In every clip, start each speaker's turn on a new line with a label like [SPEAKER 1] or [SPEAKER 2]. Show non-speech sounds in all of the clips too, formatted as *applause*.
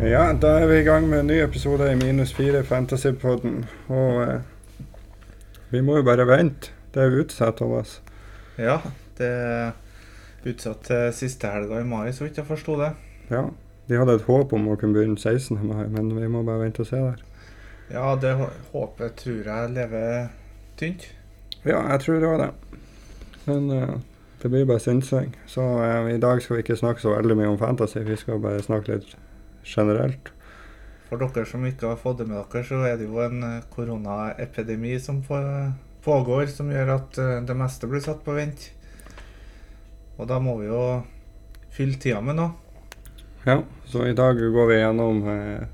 [SPEAKER 1] Ja, da er vi i gang med en ny episode i Minus 4 Fantasypodden. Og eh, vi må jo bare vente. Det er jo utsatt, Thomas.
[SPEAKER 2] Ja, det er utsatt til siste helga i mai, så vidt jeg forsto det.
[SPEAKER 1] Ja, de hadde et håp om å kunne begynne 16. mai, men vi må bare vente og se der.
[SPEAKER 2] Ja, det hå- håpet tror jeg lever tynt.
[SPEAKER 1] Ja, jeg tror det var det. Men eh, det blir bare synsing. Så eh, i dag skal vi ikke snakke så veldig mye om fantasy, vi skal bare snakke litt generelt.
[SPEAKER 2] For dere som ikke har fått det med dere, så er det jo en eh, koronaepidemi som på- pågår, som gjør at eh, det meste blir satt på vent. Og da må vi jo fylle tida med noe.
[SPEAKER 1] Ja, så i dag går vi gjennom eh,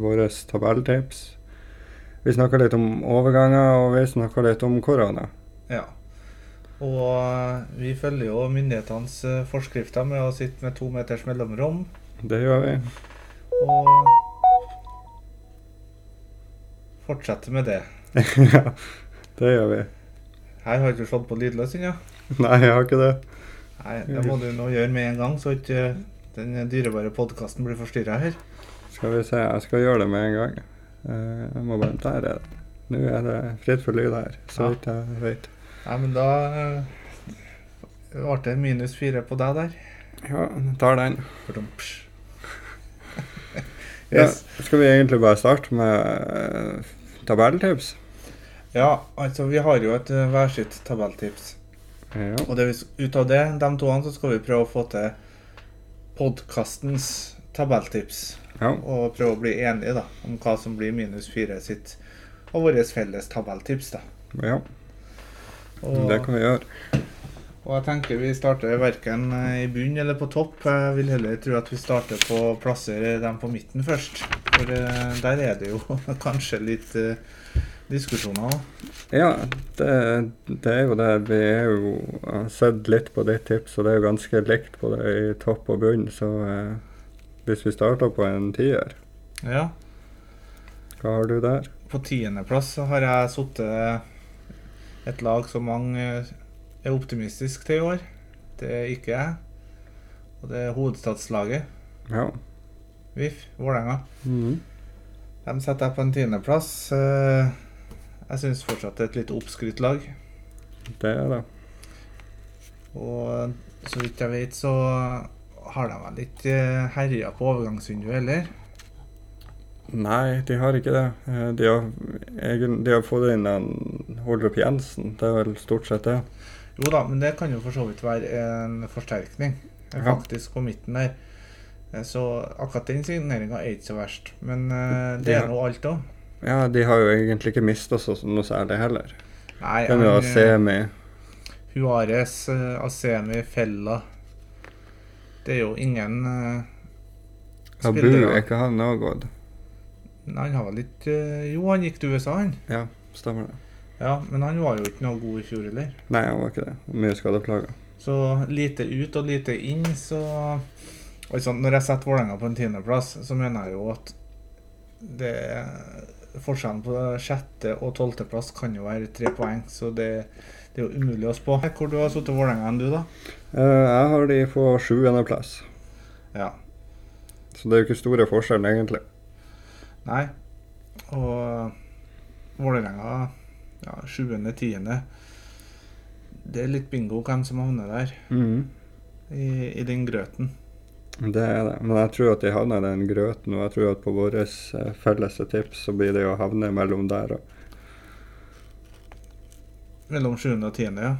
[SPEAKER 1] våre tabelltips. Vi snakker litt om overganger, og vi snakker litt om korona.
[SPEAKER 2] Ja. Og eh, vi følger jo myndighetenes eh, forskrifter med å sitte med to meters mellomrom.
[SPEAKER 1] Det gjør vi. *laughs*
[SPEAKER 2] og fortsette med det.
[SPEAKER 1] ja, det gjør vi.
[SPEAKER 2] Her har du ikke slått på lydløs ennå.
[SPEAKER 1] Nei, jeg har ikke det.
[SPEAKER 2] Nei, det må du nå gjøre med en gang, så ikke den dyrebare podkasten blir forstyrra her.
[SPEAKER 1] Skal vi se, jeg skal gjøre det med en gang. Eh, jeg må bare Der er det. Nå er det fritt for lyd her, så
[SPEAKER 2] Ja.
[SPEAKER 1] vidt jeg vet.
[SPEAKER 2] Nei, men da eh, ble det minus fire på deg der.
[SPEAKER 1] Ja, tar den.
[SPEAKER 2] Fordumps.
[SPEAKER 1] Ja,
[SPEAKER 2] Yes.
[SPEAKER 1] skal vi egentlig bare starte med eh, tabelltips?
[SPEAKER 2] Ja, altså vi har jo et eh, hver sitt tabelltips.
[SPEAKER 1] Ja.
[SPEAKER 2] Og det, vi s- ut av det, de toene, så skal vi prøve å få til podkastens tabelltips.
[SPEAKER 1] ja.
[SPEAKER 2] og prøve å bli enige da, om hva som blir minus fire sitt og vårt felles tabelltips. da.
[SPEAKER 1] Ja,
[SPEAKER 2] Og,
[SPEAKER 1] det kan vi gjøre.
[SPEAKER 2] og jeg tenker vi starter verken eh, i bunn eller på topp. Jeg vil heller tro at vi starter på plasser eh, dem på midten først. For eh, der er det jo *laughs* kanskje litt eh, diskusjoner òg.
[SPEAKER 1] Ja, det, det er jo det. Vi er jo jeg har sett litt på ditt tips, og det er jo ganske likt på det i topp og bunn. Så eh, hvis vi starter på en tier,
[SPEAKER 2] Ja.
[SPEAKER 1] hva har du der?
[SPEAKER 2] På tiendeplass så har jeg sittet eh, et lag som mange eh, er optimistisk til i år. Det er ikke jeg. Og det er hovedstadslaget,
[SPEAKER 1] Ja.
[SPEAKER 2] VIF, Vålerenga.
[SPEAKER 1] Mhm.
[SPEAKER 2] De setter jeg på en tiendeplass. Eh, Jeg syns fortsatt det er et litt oppskrytt lag.
[SPEAKER 1] Det er det.
[SPEAKER 2] Og eh, så vidt jeg vet, så har de vel ikke eh, herja på overgangsvinduet heller.
[SPEAKER 1] Nei, de har ikke det. Eh, De har, egen, de har fått inn en Holdrup Jensen. Det er vel stort sett det.
[SPEAKER 2] Jo da, men det kan jo for så vidt være en forsterkning. Eh,
[SPEAKER 1] Ja.
[SPEAKER 2] Faktisk på midten der. Eh, Så akkurat den signeringa er ikke så verst. Men eh, det
[SPEAKER 1] Ja.
[SPEAKER 2] er nå alt òg.
[SPEAKER 1] Ja, de har jo egentlig ikke mista så noe særlig heller.
[SPEAKER 2] Nei,
[SPEAKER 1] Den er jo
[SPEAKER 2] eh,
[SPEAKER 1] semi.
[SPEAKER 2] Huares, eh, Asemi, Fella Det er jo ingen eh,
[SPEAKER 1] Abu,
[SPEAKER 2] spillere.
[SPEAKER 1] er ikke han òg gått?
[SPEAKER 2] Nei, han har vel ikke eh, Jo, han gikk til USA, han.
[SPEAKER 1] Ja, stemmer det.
[SPEAKER 2] Ja, men han var jo ikke noe god i fjor heller.
[SPEAKER 1] Nei, han var ikke det. Mye skadeplager.
[SPEAKER 2] Så lite ut og lite inn, så altså, Når jeg setter Vålerenga på en tiendeplass, så mener jeg jo at det Forskjellen på sjette- og tolvteplass kan jo være tre poeng, så det, det er jo umulig å spå. Hvor du har sittet Vålerenga enn du, da?
[SPEAKER 1] Eh, Jeg har de på sjuendeplass.
[SPEAKER 2] Ja.
[SPEAKER 1] Så det er jo ikke store forskjellen, egentlig.
[SPEAKER 2] Nei. Og Vålerenga ja, sjuende-tiende Det er litt bingo hvem som havner der, i, i den grøten.
[SPEAKER 1] Det er det. Men jeg tror at de havner i den grøten, og jeg tror at på våre felles tips så blir det å havne mellom der og
[SPEAKER 2] Mellom sjuende og tiende, ja.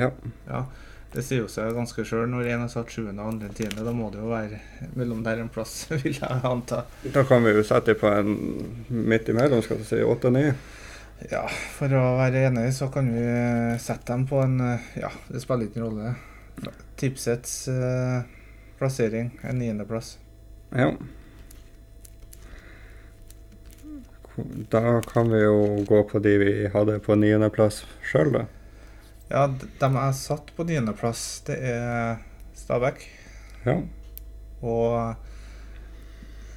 [SPEAKER 1] Ja.
[SPEAKER 2] Ja, Det sier jo seg ganske sjøl når én har satt sjuende og andre tiende. Da må det jo være mellom der en plass, *laughs* vil jeg anta.
[SPEAKER 1] Da kan vi jo sette dem på en midt imellom, skal vi si. Åtte-ni.
[SPEAKER 2] Ja, for å være enig, så kan vi sette dem på en eh, Ja, det spiller ikke noen rolle. Tipsets eh, plassering er niendeplass.
[SPEAKER 1] Ja. Da kan vi jo gå på de vi hadde på niendeplass sjøl, da.
[SPEAKER 2] Ja, d- dem jeg satt på niendeplass, det er Stabæk.
[SPEAKER 1] Ja.
[SPEAKER 2] Og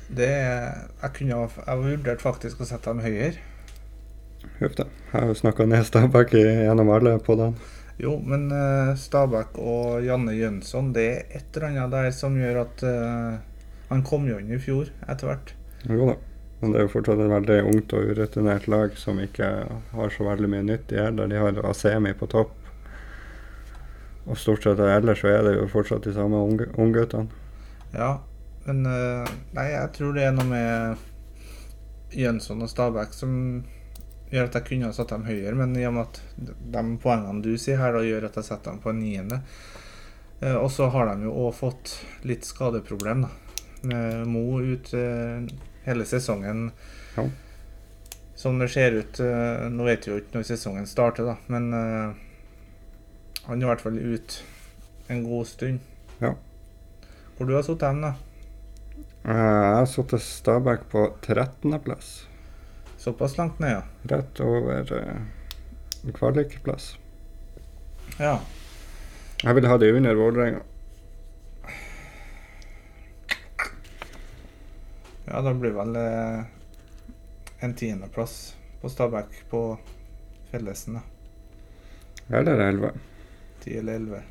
[SPEAKER 2] det er Jeg kunne ha Jeg vurderte faktisk å sette dem høyere.
[SPEAKER 1] Huff da. Jeg har jo snakka ned Stabæk i- gjennom alle på den.
[SPEAKER 2] Jo, men eh, Stabæk og Janne Jønsson, det er et eller annet der som gjør at eh, Han kom jo inn i fjor, etter hvert.
[SPEAKER 1] Jo da. Men det er jo fortsatt et veldig ungt og urutinert lag som ikke har så veldig mye nytt i heller. De har Asemi på topp. Og stort sett ellers så er det jo fortsatt de samme unge- ungguttene.
[SPEAKER 2] Ja, men eh, Nei, jeg tror det er noe med Jønsson og Stabæk som gjør at jeg kunne ha satt dem høyere, men i og med at de de poengene du sier her, da gjør at jeg setter dem på en niende. Eh, Og så har de jo òg fått litt skadeproblem, da. Med Mo ut eh, hele sesongen.
[SPEAKER 1] Ja.
[SPEAKER 2] Som det ser ut eh, Nå vet vi jo ikke når sesongen starter, da, men eh, han er i hvert fall ute en god stund.
[SPEAKER 1] Ja.
[SPEAKER 2] Hvor du har sittet hen, da?
[SPEAKER 1] Eh, Jeg har satt Stabæk på 13.-plass.
[SPEAKER 2] Såpass langt ned, ja.
[SPEAKER 1] Rett over eh, kvalikplass.
[SPEAKER 2] ja.
[SPEAKER 1] Jeg vil ha de under Vålerenga.
[SPEAKER 2] Ja, da blir vel eh, en tiendeplass på Stabæk på Fellesen, da.
[SPEAKER 1] Eller 11.
[SPEAKER 2] 10 eller 11.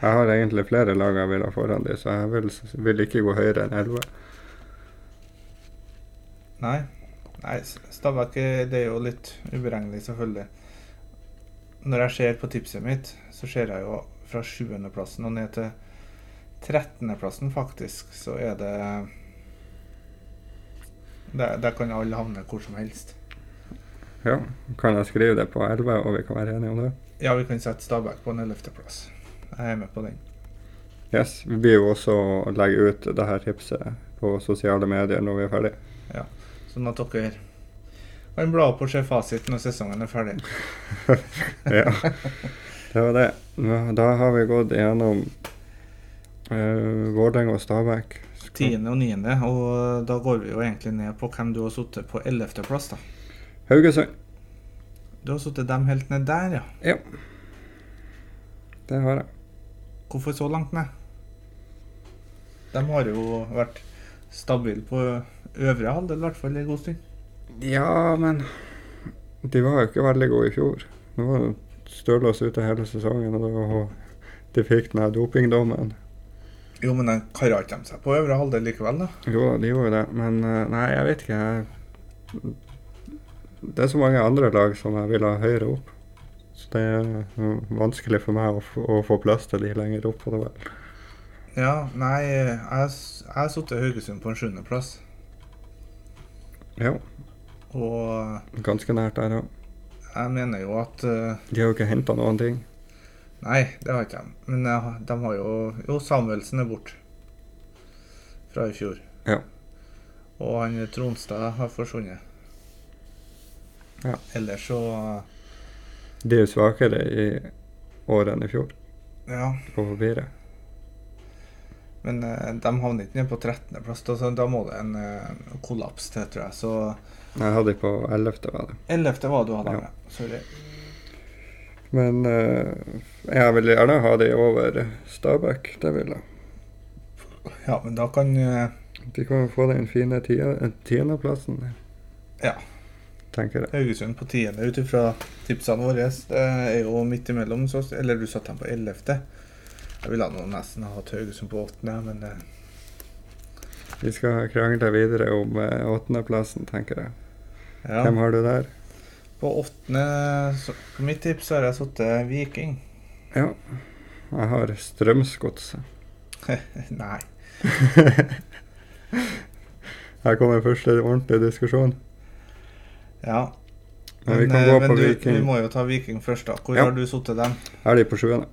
[SPEAKER 1] Jeg har egentlig flere lag jeg vil ha foran de, så jeg vil, vil ikke gå høyere enn 11.
[SPEAKER 2] Nei. Nei, S- Stabæk eh, det er jo litt uberegnelig, selvfølgelig. Når jeg ser på tipset mitt, så ser jeg jo fra 7.-plassen og ned til 13.-plassen, faktisk, så er det der, der kan alle havne hvor som helst.
[SPEAKER 1] Ja, kan jeg skrive det på 11, og vi kan være enige om det?
[SPEAKER 2] Ja, vi kan sette Stabæk på en 11.-plass. Jeg er med på den.
[SPEAKER 1] Yes. Vi blir jo også å legge ut det her tipset på sosiale medier når vi er ferdig.
[SPEAKER 2] Sånn at dere kan bla opp og se fasiten når sesongen er ferdig.
[SPEAKER 1] ja, det var det. Nå- Da har vi gått gjennom uh, Vålerenga og Stabæk. Skal-
[SPEAKER 2] Tiende og niende, og da går vi jo egentlig ned på hvem du har sittet på ellevteplass, da.
[SPEAKER 1] Haugesund.
[SPEAKER 2] Du har sittet dem helt ned der, ja.
[SPEAKER 1] Det har jeg.
[SPEAKER 2] Hvorfor så langt ned? De har jo vært stabile på øvre halvdel, i hvert fall en god stund.
[SPEAKER 1] Ja, men de var jo ikke veldig gode i fjor. Nå var Støle oss ute hele sesongen, og det var- de fikk den her dopingdommen.
[SPEAKER 2] Jo, men de kara ikke de seg på øvre halvdel likevel, da.
[SPEAKER 1] Jo da, de gjorde jo det, men eh, nei, jeg vet ikke. Jeg, det er så mange andre lag som jeg vil ha høyere opp. Så det er eh, vanskelig for meg å, f å få plass til de lenger opp. på det vel.
[SPEAKER 2] Ja, nei, jeg har s- jeg har sittet Haugesund på en sjuendeplass,
[SPEAKER 1] Ja,
[SPEAKER 2] og
[SPEAKER 1] ganske nært der òg.
[SPEAKER 2] jeg mener jo at eh,
[SPEAKER 1] De har jo ikke henta noen ting.
[SPEAKER 2] Nei, det har ikke de. Men jeg har- de har jo Jo, Samuelsen er borte. Fra i fjor.
[SPEAKER 1] Ja.
[SPEAKER 2] Og han Tronstad har forsvunnet.
[SPEAKER 1] Ja.
[SPEAKER 2] Ellers så
[SPEAKER 1] De er jo svakere i år enn i fjor,
[SPEAKER 2] Ja.
[SPEAKER 1] på papiret.
[SPEAKER 2] Men eh, de havner ikke ned på 13.-plass, da, så da må det en eh, kollaps til, tror jeg. Så
[SPEAKER 1] Jeg hadde de på 11., var det.
[SPEAKER 2] 11. var du hadde
[SPEAKER 1] Ja.
[SPEAKER 2] med. Sorry.
[SPEAKER 1] Men eh, jeg vil gjerne ha de over Stabæk. Det vil jeg.
[SPEAKER 2] Ja, men da kan eh,
[SPEAKER 1] De kan jo få den fine tie- tiendeplassen.
[SPEAKER 2] Ja.
[SPEAKER 1] Tenker jeg.
[SPEAKER 2] Haugesund på 10. ut ifra tipsene våre. Det er jo midt imellom, så, eller du satte dem på 11. Jeg ville nå nesten ha hatt Haugesund på 8., men eh,
[SPEAKER 1] Vi skal krangle videre om eh, åttendeplassen, tenker jeg.
[SPEAKER 2] ja.
[SPEAKER 1] Hvem har du der?
[SPEAKER 2] På åttende, så, på mitt tips, så har jeg sittet Viking. *laughs*
[SPEAKER 1] Ja, jeg har
[SPEAKER 2] *laughs*
[SPEAKER 1] Strømsgodset.
[SPEAKER 2] Nei.
[SPEAKER 1] Her kommer første ordentlige diskusjon.
[SPEAKER 2] Ja.
[SPEAKER 1] Men vi kan gå
[SPEAKER 2] eh,
[SPEAKER 1] på
[SPEAKER 2] du,
[SPEAKER 1] Viking.
[SPEAKER 2] Vi må jo ta Viking først, da. Hvor
[SPEAKER 1] Ja.
[SPEAKER 2] har du sittet dem?
[SPEAKER 1] Her er de på sjuende.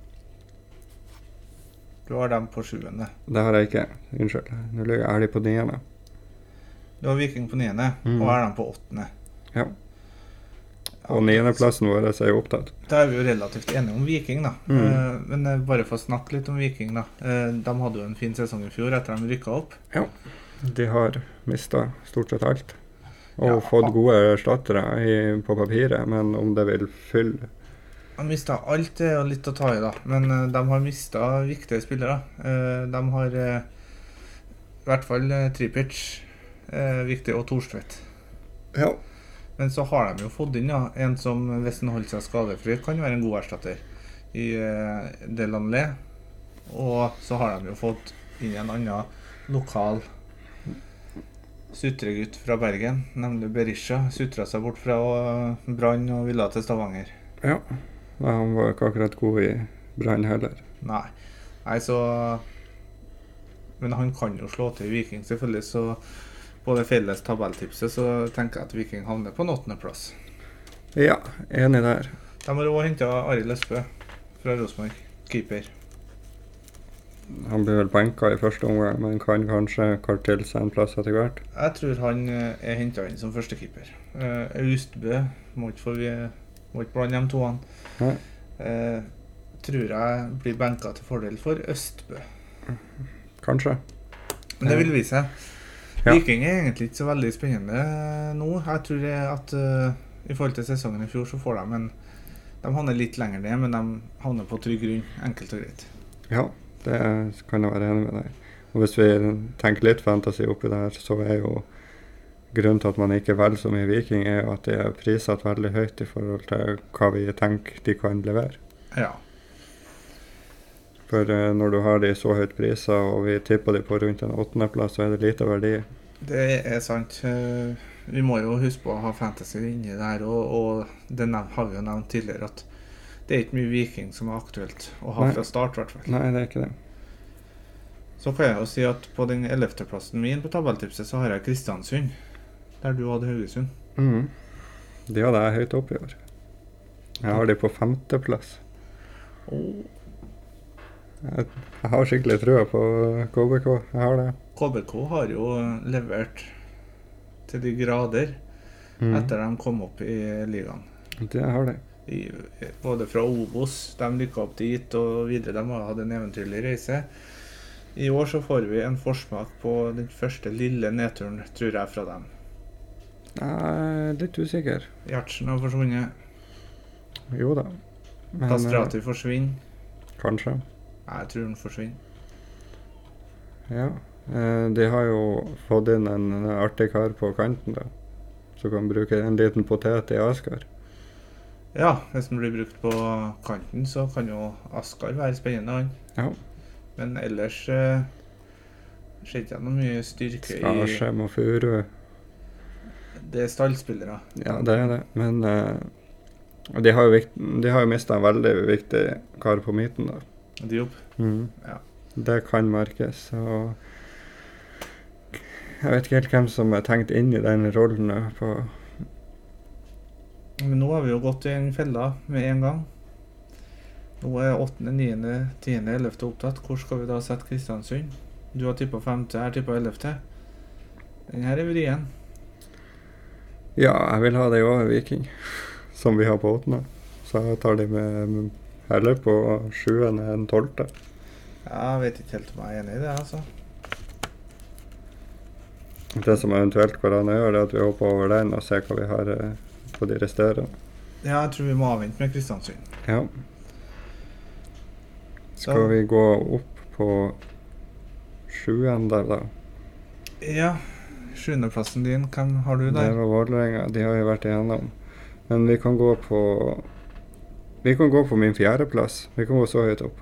[SPEAKER 2] Du har dem på sjuende.
[SPEAKER 1] Det har jeg ikke. Unnskyld. Nå ligger jeg her de på niende.
[SPEAKER 2] Du har Viking på niende,
[SPEAKER 1] Mm.
[SPEAKER 2] og jeg har dem på åttende.
[SPEAKER 1] Ja.
[SPEAKER 2] Ja,
[SPEAKER 1] Og niendeplassen vår er jo opptatt.
[SPEAKER 2] Da er vi jo relativt enige om Viking, da.
[SPEAKER 1] Mm.
[SPEAKER 2] Eh, Men eh, bare for å snakke litt om Viking, da. Eh, De hadde jo en fin sesong i fjor etter de rykka opp.
[SPEAKER 1] De har mista stort sett alt. Og
[SPEAKER 2] Ja.
[SPEAKER 1] fått gode erstattere i- på papiret, men om det vil fylle
[SPEAKER 2] De mista alt det er jo litt å ta i, da. Men eh, de har mista viktige spillere. Eh, de har eh, i hvert fall uh, Tripic eh, viktig, og Thorstvedt.
[SPEAKER 1] Ja.
[SPEAKER 2] Men så har de jo fått inn ja, en som, hvis han holder seg skadefri, kan være en god erstatter eh, i uh, Delanlé. Og så har de jo fått inn en annen lokal sutregutt fra Bergen, nemlig Berisha, sutra seg bort fra eh, Brann og ville til Stavanger.
[SPEAKER 1] Ja. Nei, han var ikke akkurat god i Brann heller.
[SPEAKER 2] Nei. Nei, så Men han kan jo slå til Viking, selvfølgelig, så på det felles tabelltipset så tenker jeg at Viking havner på en åttendeplass.
[SPEAKER 1] Ja, enig der.
[SPEAKER 2] De har òg henta Arild Østbø fra Rosenborg, keeper.
[SPEAKER 1] Han blir vel benka i første omgang, men kan kanskje kartille seg en plass etter hvert.
[SPEAKER 2] Jeg tror han eh, er henta inn som førstekeeper. Uh, Austbø må ikke, forvi- må ikke blande de toene.
[SPEAKER 1] Nei.
[SPEAKER 2] Eh, tror jeg blir benka til fordel for Østbø.
[SPEAKER 1] Kanskje.
[SPEAKER 2] Men det vil vise seg.
[SPEAKER 1] Eh, Ja.
[SPEAKER 2] Viking er egentlig ikke så veldig spennende nå. Jeg tror det at eh, i forhold til sesongen i fjor, så får de en De havner litt lenger ned, men de havner på trygg grunn. Enkelt og greit.
[SPEAKER 1] Ja, det kan jeg være enig med deg i. Og hvis vi tenker litt fantasy oppi det her, så er jo grunnen til at man ikke velger så mye Viking, er jo at de er prisatt veldig høyt i forhold til hva vi tenker de kan levere.
[SPEAKER 2] Ja.
[SPEAKER 1] For eh, når du har de så høyt priser, og vi tipper de på rundt en åttendeplass, så er det lite verdi.
[SPEAKER 2] Det er sant. Eh, Vi må jo huske på å ha fantasy inni der, og, og det nev- har vi jo nevnt tidligere at det er ikke mye Viking som er aktuelt å ha
[SPEAKER 1] Nei.
[SPEAKER 2] fra start, i hvert fall.
[SPEAKER 1] Nei, det er ikke det.
[SPEAKER 2] Så kan jeg jo si at på den 11.-plassen min på tabelltipset så har jeg Kristiansund, der du hadde Haugesund.
[SPEAKER 1] Mhm. De hadde jeg høyt opp i år. Jeg har de på femteplass. Jeg, jeg har skikkelig trua på KBK. Jeg har det.
[SPEAKER 2] KBK har jo levert til de grader
[SPEAKER 1] Mhm.
[SPEAKER 2] etter de kom opp i ligaen.
[SPEAKER 1] Det har de.
[SPEAKER 2] I, både fra Obos, de rykka opp dit og videre. De har hatt en eventyrlig reise. I år så får vi en forsmak på den første lille nedturen, tror jeg, fra dem.
[SPEAKER 1] Jeg er litt usikker.
[SPEAKER 2] Gjertsen har forsvunnet,
[SPEAKER 1] Jo da. Men,
[SPEAKER 2] Kastrati forsvinner.
[SPEAKER 1] eh, kanskje.
[SPEAKER 2] Nei, Jeg tror han forsvinner.
[SPEAKER 1] Ja. Eh, de har jo fått inn en artig kar på kanten, da. Som kan bruke en liten potet i Askar.
[SPEAKER 2] Ja, hvis han blir brukt på kanten, så kan jo Askar være spennende, han.
[SPEAKER 1] Ja.
[SPEAKER 2] Men ellers eh, ser ikke jeg noe mye styrke i
[SPEAKER 1] Skarsheim og Furu.
[SPEAKER 2] Det er stallspillere.
[SPEAKER 1] Ja, det er det. Men eh, og de har jo, vikt- de har jo mista en veldig viktig kar på midten, da.
[SPEAKER 2] Diop. Ja.
[SPEAKER 1] Det kan merkes. Og jeg vet ikke helt hvem som er tenkt inn i den rollen da, på
[SPEAKER 2] Men nå har vi jo gått i en fella med en gang. Nå er 8., 9., 10., 11. opptatt. Hvor skal vi da sette Kristiansund? Du har tippa 5., jeg har tippa 11. Den her er vrien.
[SPEAKER 1] Ja, jeg vil ha det òg, Viking. *laughs* Som vi har på åttende. Så jeg tar de med med heller på sjuende enn tolvte.
[SPEAKER 2] Jeg vet ikke helt om jeg er enig i det, altså.
[SPEAKER 1] Det som eventuelt går an å gjøre, er at vi hopper over den og ser hva vi har eh, på de resterende.
[SPEAKER 2] Ja, jeg tror vi må avvente med Kristiansund.
[SPEAKER 1] Ja. Skal vi gå opp på sjuende, da?
[SPEAKER 2] Ja. Sjuendeplassen din, hvem har du
[SPEAKER 1] Det
[SPEAKER 2] der?
[SPEAKER 1] var Vålerenga. De har jo vært igjennom. Men vi kan gå på Vi kan gå på min fjerdeplass. Vi kan gå så høyt opp.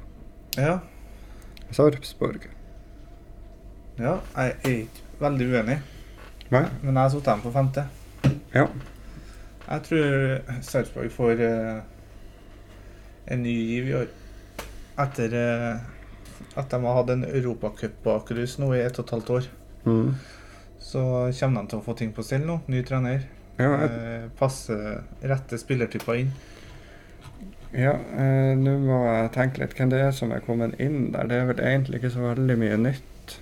[SPEAKER 2] Ja.
[SPEAKER 1] Sarpsborg.
[SPEAKER 2] ja. Jeg er ikke veldig uenig,
[SPEAKER 1] Nei?
[SPEAKER 2] men jeg har satt dem på femte.
[SPEAKER 1] Ja.
[SPEAKER 2] Jeg tror Sarpsborg får eh, en ny giv i år. Etter eh, at de har hatt en europacup-bakrus nå i ett og et halvt år,
[SPEAKER 1] Mm.
[SPEAKER 2] så kommer de til å få ting på stell nå. Ny trener.
[SPEAKER 1] Ja, jeg,
[SPEAKER 2] Eh, passe rette spillertyper inn.
[SPEAKER 1] Ja, eh, nå må jeg tenke litt hvem det er som er kommet inn der. Det er vel egentlig ikke så veldig mye nytt.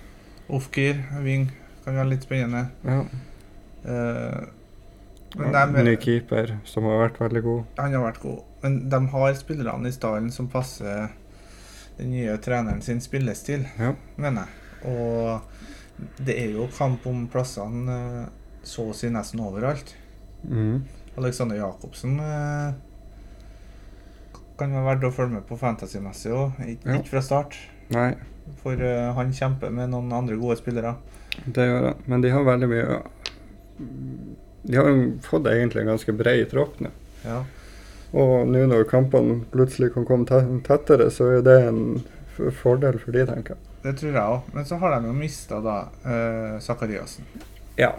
[SPEAKER 2] Ofgir, wing, kan være litt spennende.
[SPEAKER 1] Ja.
[SPEAKER 2] Eh, men
[SPEAKER 1] Ja,
[SPEAKER 2] dem-
[SPEAKER 1] Ny keeper som har vært veldig god.
[SPEAKER 2] han har vært god. Men de har spillerne i stallen som passer den nye treneren sin spillestil,
[SPEAKER 1] Ja.
[SPEAKER 2] mener jeg. Og det er jo kamp om plassene eh, så å si nesten overalt. Mm.
[SPEAKER 1] Mhm.
[SPEAKER 2] Alexander Jacobsen eh, kan være verdt å følge med på fantasymessig òg, ikke
[SPEAKER 1] Ja.
[SPEAKER 2] ikke fra start.
[SPEAKER 1] Nei,
[SPEAKER 2] For eh, han kjemper med noen andre gode spillere.
[SPEAKER 1] det gjør han. Men de har veldig mye De har jo fått egentlig en ganske bred tropp nå.
[SPEAKER 2] Ja.
[SPEAKER 1] Og nå når kampene plutselig kan komme te- tettere, så er det en f- fordel for de, tenker jeg.
[SPEAKER 2] Det tror jeg òg. Men så har de jo mista da eh, Sakariassen.
[SPEAKER 1] Ja.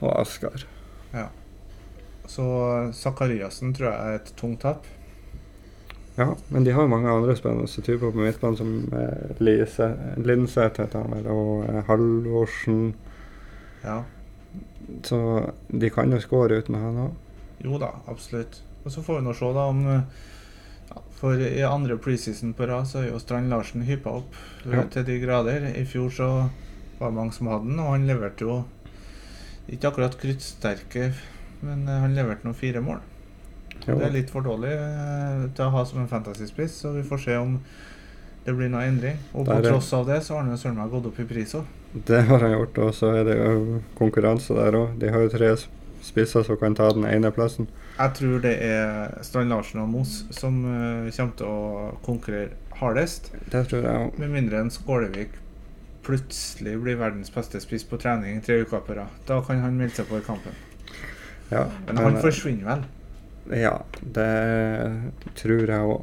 [SPEAKER 1] Og Askar.
[SPEAKER 2] Så Sakariassen tror jeg er et tungt tap.
[SPEAKER 1] Ja, men de har jo mange andre spennende typer på midtbanen, som eh, Lise, Lindseth heter han vel, og eh, Halvorsen.
[SPEAKER 2] Ja.
[SPEAKER 1] Så de kan jo skåre uten han òg.
[SPEAKER 2] Jo da, absolutt. Og så får vi nå se da om eh, ja, For i andre preseason på rad så er jo Strand Larsen hypa opp eh,
[SPEAKER 1] Ja.
[SPEAKER 2] til de grader. I fjor så var det mange som hadde den, og han leverte jo ikke akkurat kruttsterke, men eh, han leverte nå fire mål. Det er litt for dårlig eh, til å ha som en fantasyspiss, så vi får se om det blir noe endring. Og på
[SPEAKER 1] Der er-
[SPEAKER 2] tross av det så har han jo søren meg gått opp i pris òg.
[SPEAKER 1] Det har han gjort, og så er det jo konkurranse der òg. De har jo tre sp- spisser som kan ta den ene plassen.
[SPEAKER 2] Jeg tror det er Strand Larsen og Moss som eh, kommer til å konkurrere hardest.
[SPEAKER 1] Det tror jeg òg.
[SPEAKER 2] Med mindre en Skålevik plutselig blir verdens beste spiss på trening i tre uker på rad. Da kan han melde seg på i kampen.
[SPEAKER 1] Ja,
[SPEAKER 2] Men han
[SPEAKER 1] eh,
[SPEAKER 2] forsvinner vel.
[SPEAKER 1] ja, det tror jeg òg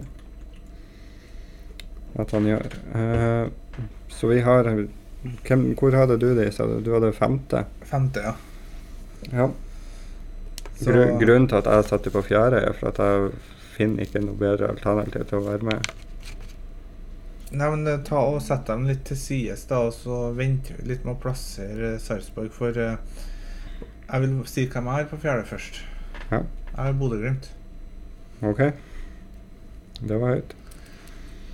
[SPEAKER 1] at han gjør. Eh, så vi har hvem, Hvor hadde du det, sa du? Du hadde femte?
[SPEAKER 2] Femte, ja.
[SPEAKER 1] Ja.
[SPEAKER 2] Så-
[SPEAKER 1] Gru, grunnen til at jeg satte på fjerde, er for at jeg finner ikke noe bedre alternativ til å være med.
[SPEAKER 2] Nei, men eh, ta og Sett dem litt til sides, da, og så venter vi litt med å plassere eh, Sarpsborg. For eh, jeg vil si hvem jeg har på fjerde først.
[SPEAKER 1] Ja.
[SPEAKER 2] Jeg har Bodø-Glimt.
[SPEAKER 1] OK? Det var høyt.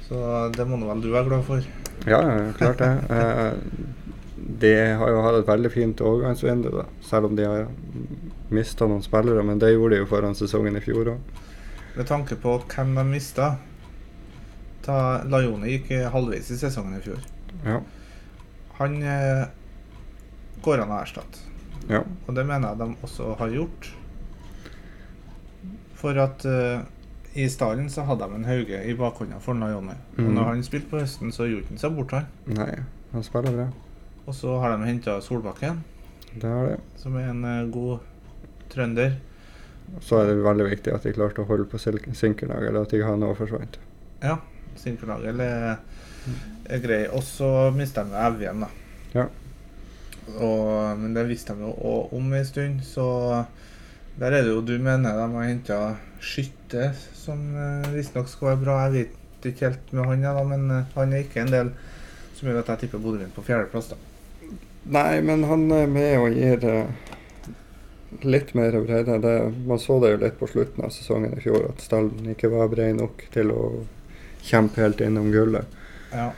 [SPEAKER 2] Så det må nå vel du være glad for.
[SPEAKER 1] Ja, ja, klart det. Eh, de har jo hatt et veldig fint overgangsvindu, da. Selv om de har mista noen spillere. Men det gjorde de jo foran sesongen i fjor òg.
[SPEAKER 2] Med tanke på hvem de mista Lajone gikk eh, halvveis i sesongen i fjor.
[SPEAKER 1] Ja.
[SPEAKER 2] Han eh, går an å erstatte.
[SPEAKER 1] Ja.
[SPEAKER 2] Og det mener jeg de også har gjort. For at eh, i stallen så hadde de en Hauge i bakhånda for Lajone. Og
[SPEAKER 1] Mm.
[SPEAKER 2] når han spilte på høsten, så gjorde han seg bort han.
[SPEAKER 1] Nei, han spiller bra.
[SPEAKER 2] Og så har de henta Solbakken,
[SPEAKER 1] Det har de.
[SPEAKER 2] som er en eh, god trønder.
[SPEAKER 1] Så er det veldig viktig at de klarte å holde på Sil- Sinkernagel, eller at ikke han òg forsvant.
[SPEAKER 2] Sinkernagel er, er eh, grei. Og så mister de jo Evjen, da.
[SPEAKER 1] Ja.
[SPEAKER 2] Og, men det visste de jo også om en stund, så der er det jo du mener de har henta Skytte, som eh, visstnok skal være bra. Jeg vet ikke helt med han, ja, da, men eh, han er ikke en del som gjør at jeg tipper Bodø Glimt på fjerdeplass. da.
[SPEAKER 1] Nei, men han er med og gir eh, litt mer bredde. Det, man så det jo litt på slutten av sesongen i fjor, at stallen ikke var bred nok til å kjempe helt innom gullet.
[SPEAKER 2] Ja.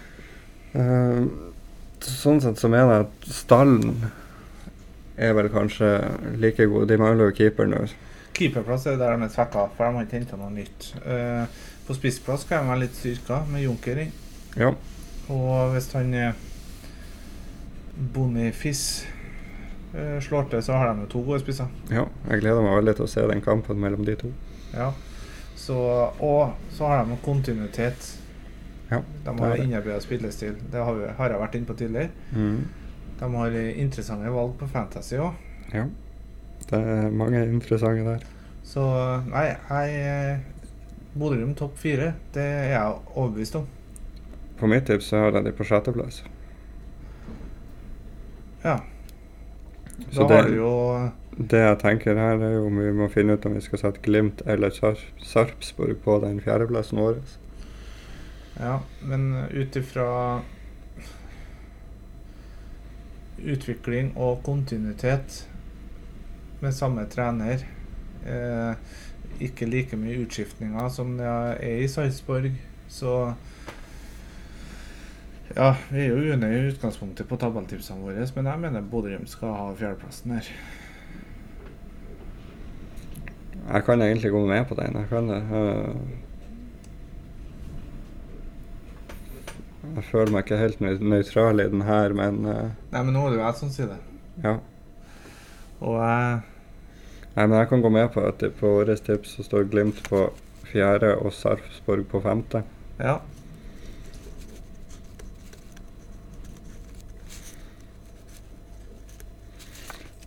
[SPEAKER 1] Eh, sånn sett så mener jeg at stallen er vel kanskje like god. De mangler jo keeper nå.
[SPEAKER 2] Keeperplass er jo der de er svekka, for de har ikke henta noe nytt. Eh, på spissplass kan de være litt styrka, med Junker inn.
[SPEAKER 1] Ja.
[SPEAKER 2] Og hvis han eh, Boniface eh, slår til, så har de jo to gode spisser.
[SPEAKER 1] ja. Jeg gleder meg veldig til å se den kampen mellom de to.
[SPEAKER 2] Ja. Så, og så har de jo kontinuitet.
[SPEAKER 1] Ja,
[SPEAKER 2] de
[SPEAKER 1] det er
[SPEAKER 2] har
[SPEAKER 1] det.
[SPEAKER 2] innarbeida spillestil. Det har, vi, har jeg vært inne på tidligere.
[SPEAKER 1] Mm.
[SPEAKER 2] De har eh, interessante valg på Fantasy òg.
[SPEAKER 1] Ja. Det er mange interessante der.
[SPEAKER 2] Så nei, jeg eh, Bodø-Glimt topp fire, det er jeg overbevist om.
[SPEAKER 1] På mitt tips så har jeg de på sjetteplass.
[SPEAKER 2] Ja.
[SPEAKER 1] Så
[SPEAKER 2] Da
[SPEAKER 1] det-
[SPEAKER 2] har du jo
[SPEAKER 1] Det jeg tenker her, er jo om vi må finne ut om vi skal sette Glimt eller Sarp- Sarpsborg på den fjerdeplassen vår.
[SPEAKER 2] Ja, men ut ifra utvikling og kontinuitet med samme trener eh, Ikke like mye utskiftninger som det er i Sarpsborg, så Ja, vi er jo unøye i utgangspunktet på tabelltipsene våre, men jeg mener Bodø-Glimt skal ha fjerdeplassen her.
[SPEAKER 1] Jeg kan egentlig gå med på den. Jeg kan det. Øh. Jeg føler meg ikke helt nøy- nøytral i den her, men øh,
[SPEAKER 2] Nei, men nå er det jo jeg som sier det.
[SPEAKER 1] ja.
[SPEAKER 2] Og jeg
[SPEAKER 1] Nei, men jeg kan gå med på at det på årets tips så står Glimt på fjerde og Sarpsborg på femte.
[SPEAKER 2] Ja.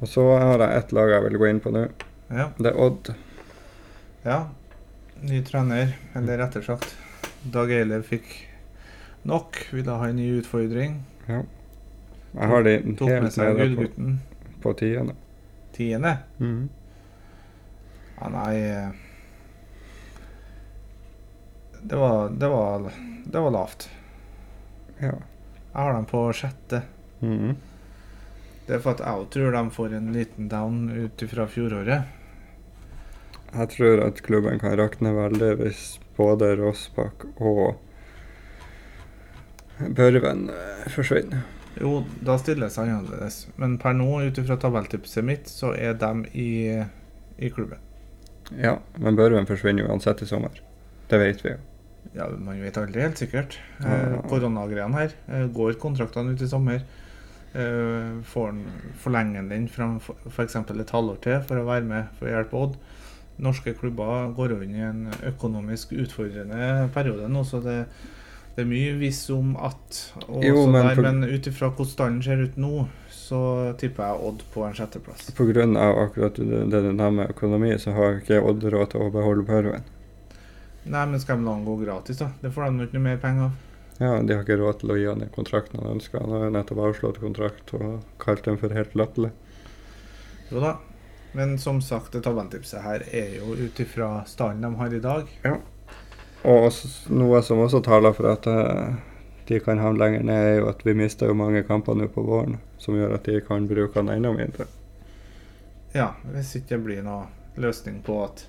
[SPEAKER 1] Og så har jeg ett lag jeg vil gå inn på nå.
[SPEAKER 2] ja.
[SPEAKER 1] Det er Odd.
[SPEAKER 2] Ja, ny trener, eller rettere sagt. Dag Eilev fikk nok. Ville ha en ny utfordring.
[SPEAKER 1] Jeg har de
[SPEAKER 2] Tok med
[SPEAKER 1] helt
[SPEAKER 2] seg
[SPEAKER 1] nede på,
[SPEAKER 2] gullgutten.
[SPEAKER 1] på tiende.
[SPEAKER 2] Tiende.
[SPEAKER 1] Mhm.
[SPEAKER 2] Ja, nei eh, det var, det var Det var lavt.
[SPEAKER 1] Ja.
[SPEAKER 2] Jeg har dem på sjette.
[SPEAKER 1] Mhm.
[SPEAKER 2] Det er for at jeg tror de får en liten down ut ifra fjoråret.
[SPEAKER 1] Jeg tror at klubben kan rakne veldig hvis både Rossbakk og Børven eh, forsvinner.
[SPEAKER 2] Jo, da stilles han annerledes. Men per nå, ut ifra tabelltipset mitt, så er de i, i klubben.
[SPEAKER 1] Ja, men Børven forsvinner jo uansett i sommer. Det vet vi jo.
[SPEAKER 2] Ja, Man vet aldri helt sikkert.
[SPEAKER 1] Ja, ja,
[SPEAKER 2] Eh,
[SPEAKER 1] ja.
[SPEAKER 2] Koronagreiene her. Eh, går kontraktene ut i sommer? Eh, får han forlenger han den fram for- for eksempel et halvår til for å være med for å hjelpe Odd? Norske klubber går jo inn i en økonomisk utfordrende periode nå, så det, det er mye viss om at. Og
[SPEAKER 1] Jo,
[SPEAKER 2] så
[SPEAKER 1] men
[SPEAKER 2] der,
[SPEAKER 1] for-
[SPEAKER 2] men ut ifra hvordan stallen ser ut nå, så tipper jeg Odd på en sjetteplass.
[SPEAKER 1] På grunn av akkurat det det du nevner med økonomi, så har ikke Odd råd til å beholde Børven.
[SPEAKER 2] Nei, men skal de la han gå gratis, da? Det får de jo ikke noe mer penger av.
[SPEAKER 1] Ja, De har ikke råd til å gi han den kontrakten han ønsker. Han har jo nettopp avslått kontrakt og kalt den for helt latterlig.
[SPEAKER 2] Jo da. Men som sagt, det tabelltipset her er jo ut ifra stallen de har i dag.
[SPEAKER 1] Og s- noe som også taler for at eh, de kan havne lenger ned, er jo at vi mister jo mange kamper nå på våren, som gjør at de kan bruke han enda mindre.
[SPEAKER 2] Ja, hvis ikke det blir noe løsning på at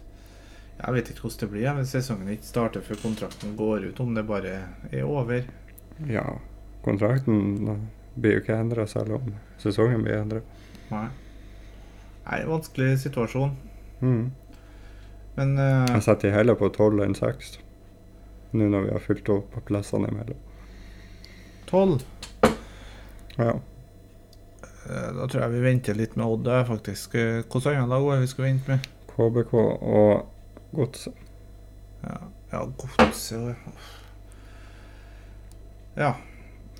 [SPEAKER 2] Jeg vet ikke hvordan det blir, ja, hvis sesongen ikke starter før kontrakten går ut, om det bare er over.
[SPEAKER 1] Ja, kontrakten blir jo ikke endra selv om sesongen blir endra.
[SPEAKER 2] Nei. Nei, vanskelig situasjon.
[SPEAKER 1] Mm.
[SPEAKER 2] Men eh,
[SPEAKER 1] Jeg setter de heller på tolv enn seks, nå når vi har fylt opp plassene imellom.
[SPEAKER 2] 12
[SPEAKER 1] Ja.
[SPEAKER 2] eh, Da tror jeg vi venter litt med Odd, da, faktisk. Eh, Hvilke andre lag var det vi skulle vente med?
[SPEAKER 1] KBK og Godset.
[SPEAKER 2] Ja, ja godset og Ja.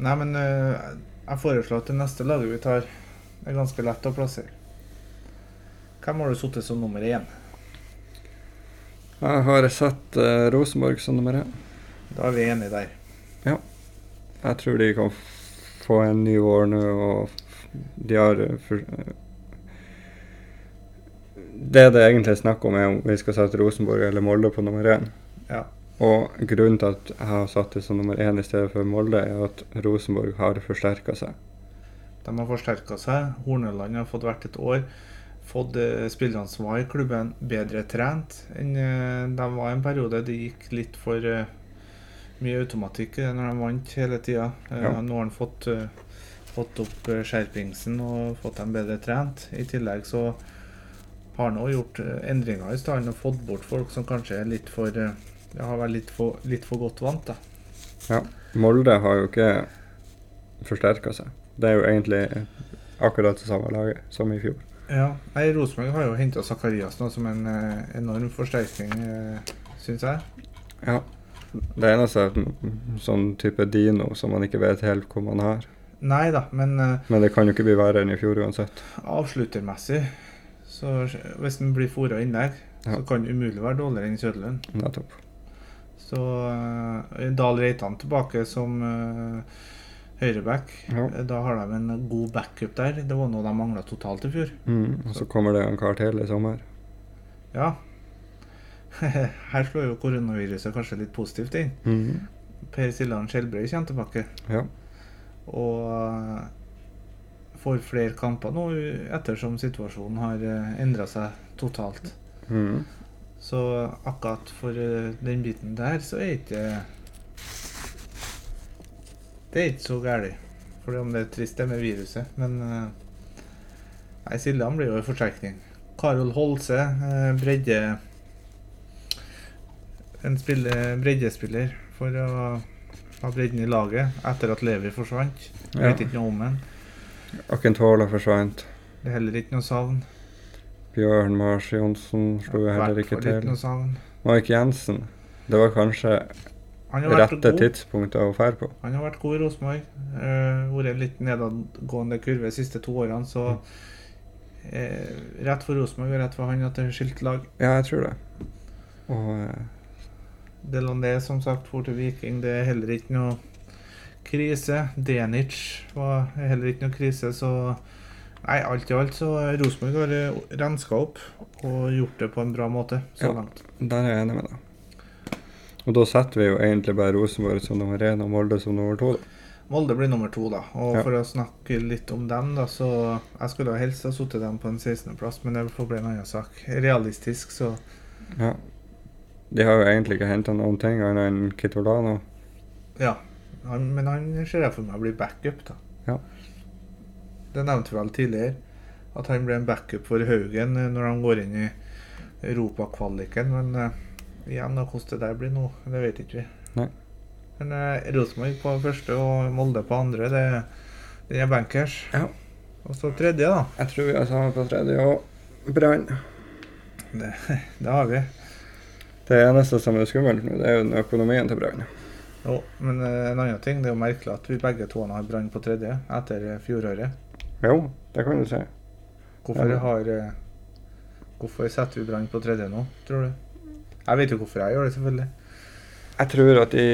[SPEAKER 2] Nei, men eh, jeg foreslår at det neste laget vi tar, er ganske lett å plassere. Hvem har du sittet som nummer én?
[SPEAKER 1] Jeg har sett eh, Rosenborg som nummer én.
[SPEAKER 2] Da er vi enige der.
[SPEAKER 1] Jeg tror de kan f- få en ny vår nå, og f- de har eh, for, Det det egentlig er snakk om, er om vi skal sette Rosenborg eller Molde på nummer én.
[SPEAKER 2] Ja.
[SPEAKER 1] Og grunnen til at jeg har satt det som nummer én i stedet for Molde, er at Rosenborg har forsterka seg.
[SPEAKER 2] De har forsterka seg. Horneland har fått hvert et år. Fått eh, spillerne som var i klubben, bedre trent enn eh, de var en periode. Det gikk litt for eh, mye automatikk eh, når de vant hele tida. Eh,
[SPEAKER 1] Ja.
[SPEAKER 2] Nå har han fått, eh, fått opp eh, skjerpingsen og fått dem bedre trent. I tillegg så har han òg gjort eh, endringer i stallen og fått bort folk som kanskje er litt for eh, ja, har vært litt for, litt for godt vant. da.
[SPEAKER 1] Molde har jo ikke forsterka seg. Det er jo egentlig eh, akkurat det samme laget som i fjor.
[SPEAKER 2] Ja, nei, Rosenborg har jo henta Zakarias nå som en eh, enorm forsterkning, eh, syns jeg.
[SPEAKER 1] Ja. Det eneste er en sånn type dino som man ikke vet helt hvor man har.
[SPEAKER 2] Nei da, men eh,
[SPEAKER 1] Men det kan jo ikke bli verre enn i fjor uansett.
[SPEAKER 2] avsluttermessig så Hvis han blir fôra innlegg,
[SPEAKER 1] Ja.
[SPEAKER 2] så kan han umulig være dårligere enn Kjødlund.
[SPEAKER 1] Nettopp.
[SPEAKER 2] Så eh, Dahl Reitan tilbake som eh, høyreback.
[SPEAKER 1] Ja.
[SPEAKER 2] Da har de en god backup der. Det var noe de mangla totalt i fjor.
[SPEAKER 1] Mm, og så kommer det en kar til i sommer.
[SPEAKER 2] Ja. *laughs* Her slår jo koronaviruset kanskje litt positivt inn.
[SPEAKER 1] Mm.
[SPEAKER 2] Per Siljan Skjelbrøy kommer tilbake.
[SPEAKER 1] Ja.
[SPEAKER 2] og eh, får flere kamper nå u- ettersom situasjonen har endra seg totalt.
[SPEAKER 1] Mm.
[SPEAKER 2] Så akkurat for eh, den biten der, så er ikke Det er ikke så galt. For om det er trist, det med viruset, men eh, Nei, Siljan blir jo en forsterkning. Karol Holse, eh, bredde En spiller, breddespiller for å ha bredden i laget etter at Levi forsvant. Jeg
[SPEAKER 1] ja.
[SPEAKER 2] vet ikke noe om den.
[SPEAKER 1] Akintola forsvant.
[SPEAKER 2] Det er heller ikke noe savn.
[SPEAKER 1] Bjørn Mars Johnsen slo jo heller ikke
[SPEAKER 2] Hvertfall
[SPEAKER 1] til.
[SPEAKER 2] noe savn.
[SPEAKER 1] Mark Jensen. Det var kanskje
[SPEAKER 2] Han har vært
[SPEAKER 1] rette
[SPEAKER 2] god.
[SPEAKER 1] tidspunktet å fære på.
[SPEAKER 2] Han har vært god i Rosenborg. Eh, vært en litt nedadgående kurve de siste to årene, så
[SPEAKER 1] Mm.
[SPEAKER 2] eh, Rett for Rosenborg og rett for han at det er skilt lag.
[SPEAKER 1] Ja, jeg tror det. Og eh,
[SPEAKER 2] Delandé, som sagt, for til Viking. Det er heller ikke noe krise. Denic var heller ikke noe krise, så Nei, alt i alt så Rosenborg har eh, renska opp og gjort det på en bra måte så
[SPEAKER 1] Ja.
[SPEAKER 2] langt.
[SPEAKER 1] Der er jeg enig med deg. Og da setter vi jo egentlig bare Rosenborg som nummer én og Molde som nummer to. da.
[SPEAKER 2] Molde blir nummer to, da. Og
[SPEAKER 1] Ja.
[SPEAKER 2] for å snakke litt om dem, da, så Jeg skulle ha helst ha sittet dem på en 16.-plass, men det får bli en annen sak. Realistisk, så
[SPEAKER 1] Ja. De har jo egentlig ikke henta noen ting annet enn Kitolano.
[SPEAKER 2] Ja. Han, men han ser jeg for meg blir backup, da.
[SPEAKER 1] Ja.
[SPEAKER 2] Det nevnte vi vel tidligere, at han blir en backup for Haugen eh, når han går inn i europakvaliken. Men eh, igjen, da, hvordan det der blir nå, det vet ikke vi.
[SPEAKER 1] Nei.
[SPEAKER 2] Men eh, Rosenborg på første og Molde på andre, det, det er bankers.
[SPEAKER 1] Ja.
[SPEAKER 2] Og så tredje, da.
[SPEAKER 1] Jeg tror vi har samme på tredje og Brann.
[SPEAKER 2] Det har vi.
[SPEAKER 1] Det eneste som er skummelt nå, det er jo den økonomien til Brann.
[SPEAKER 2] Jo, men eh, en annen ting, det er jo merkelig at vi begge to har Brann på tredje etter eh, fjoråret.
[SPEAKER 1] Jo, det kan du si.
[SPEAKER 2] Hvorfor
[SPEAKER 1] Ja.
[SPEAKER 2] har eh, Hvorfor setter vi Brann på tredje nå, tror du? Jeg vet jo hvorfor jeg gjør det, selvfølgelig.
[SPEAKER 1] Jeg tror at de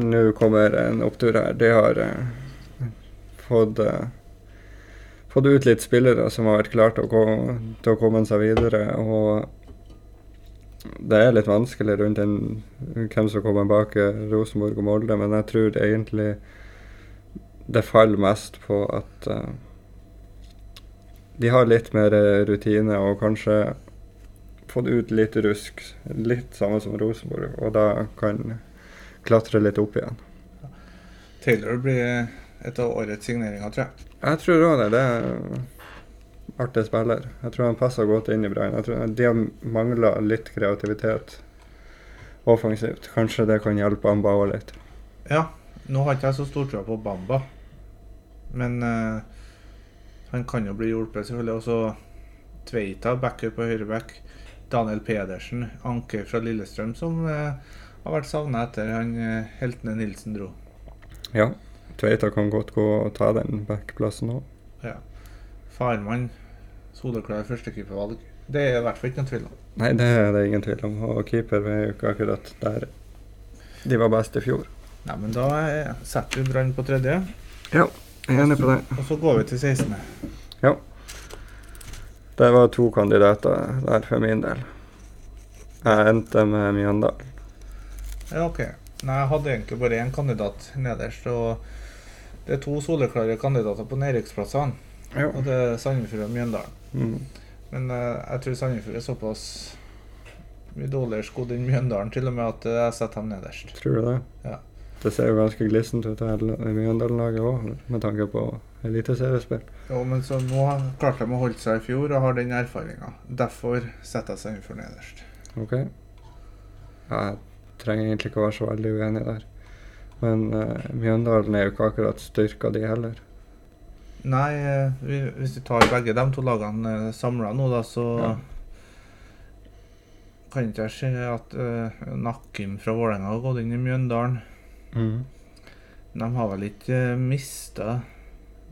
[SPEAKER 1] nå kommer en opptur her. De har eh, fått eh, fått ut litt spillere som har vært klare til, å gå- til å komme seg videre. Og det er litt vanskelig rundt den, hvem som kommer bak eh, Rosenborg og Molde, men jeg tror egentlig det faller mest på at eh, de har litt mer eh, rutine og kanskje fått ut litt rusk. Litt samme som Rosenborg, og da kan klatre litt opp igjen.
[SPEAKER 2] Taylor blir eh, et av årets signeringer, tror jeg.
[SPEAKER 1] Jeg tror òg det. Det er artig spiller. Jeg tror han passer godt inn i Brann. Jeg tror De har mangla litt kreativitet offensivt. Kanskje det kan hjelpe Amba òg litt.
[SPEAKER 2] Ja, nå har ikke jeg så stor tro på Bamba, men eh, han kan jo bli hjulpet, selvfølgelig. Og så Tveita, backup og høyreback. Daniel Pedersen, anker fra Lillestrøm, som eh, har vært savna etter han eh, heltene Nilsen dro.
[SPEAKER 1] Ja. Tveita kan godt gå og ta den backplassen òg.
[SPEAKER 2] Farmann, soleklar førstekeepervalg. Det er i hvert fall ikke noen tvil om.
[SPEAKER 1] Nei, det er det ingen tvil om. Og keeper er jo ikke akkurat der de var best i fjor.
[SPEAKER 2] Nei, men da eh, setter vi Brann på tredje,
[SPEAKER 1] Jeg er enig på det.
[SPEAKER 2] og så går vi til 16.
[SPEAKER 1] Det var to kandidater der for min del. Jeg endte med Mjøndalen.
[SPEAKER 2] Ja, ok. Nei, jeg hadde egentlig bare én kandidat nederst, og det er to soleklare kandidater på nedrykksplassene, og det er Sandefjord og Mjøndalen.
[SPEAKER 1] Mm.
[SPEAKER 2] Men eh, jeg tror Sandefjord er såpass mye dårligere skodd enn Mjøndalen, til og med at eh, jeg setter dem nederst.
[SPEAKER 1] Tror du det?
[SPEAKER 2] Ja.
[SPEAKER 1] Det ser jo ganske glissent ut her i Mjøndalen-laget òg, med tanke på eliteseriespill.
[SPEAKER 2] Jo, men så nå klarte de å holde seg i fjor og har den erfaringa. Derfor setter jeg Sandefjord nederst.
[SPEAKER 1] OK? Jeg trenger egentlig ikke å være så veldig uenig der. Men eh, Mjøndalen er jo ikke akkurat styrka, de heller.
[SPEAKER 2] Nei, eh, vi- hvis vi tar begge de to lagene samla nå, da, så
[SPEAKER 1] Ja.
[SPEAKER 2] kan ikke jeg se at eh, Nakkim fra Vålerenga har gått inn i Mjøndalen. De har vel ikke mista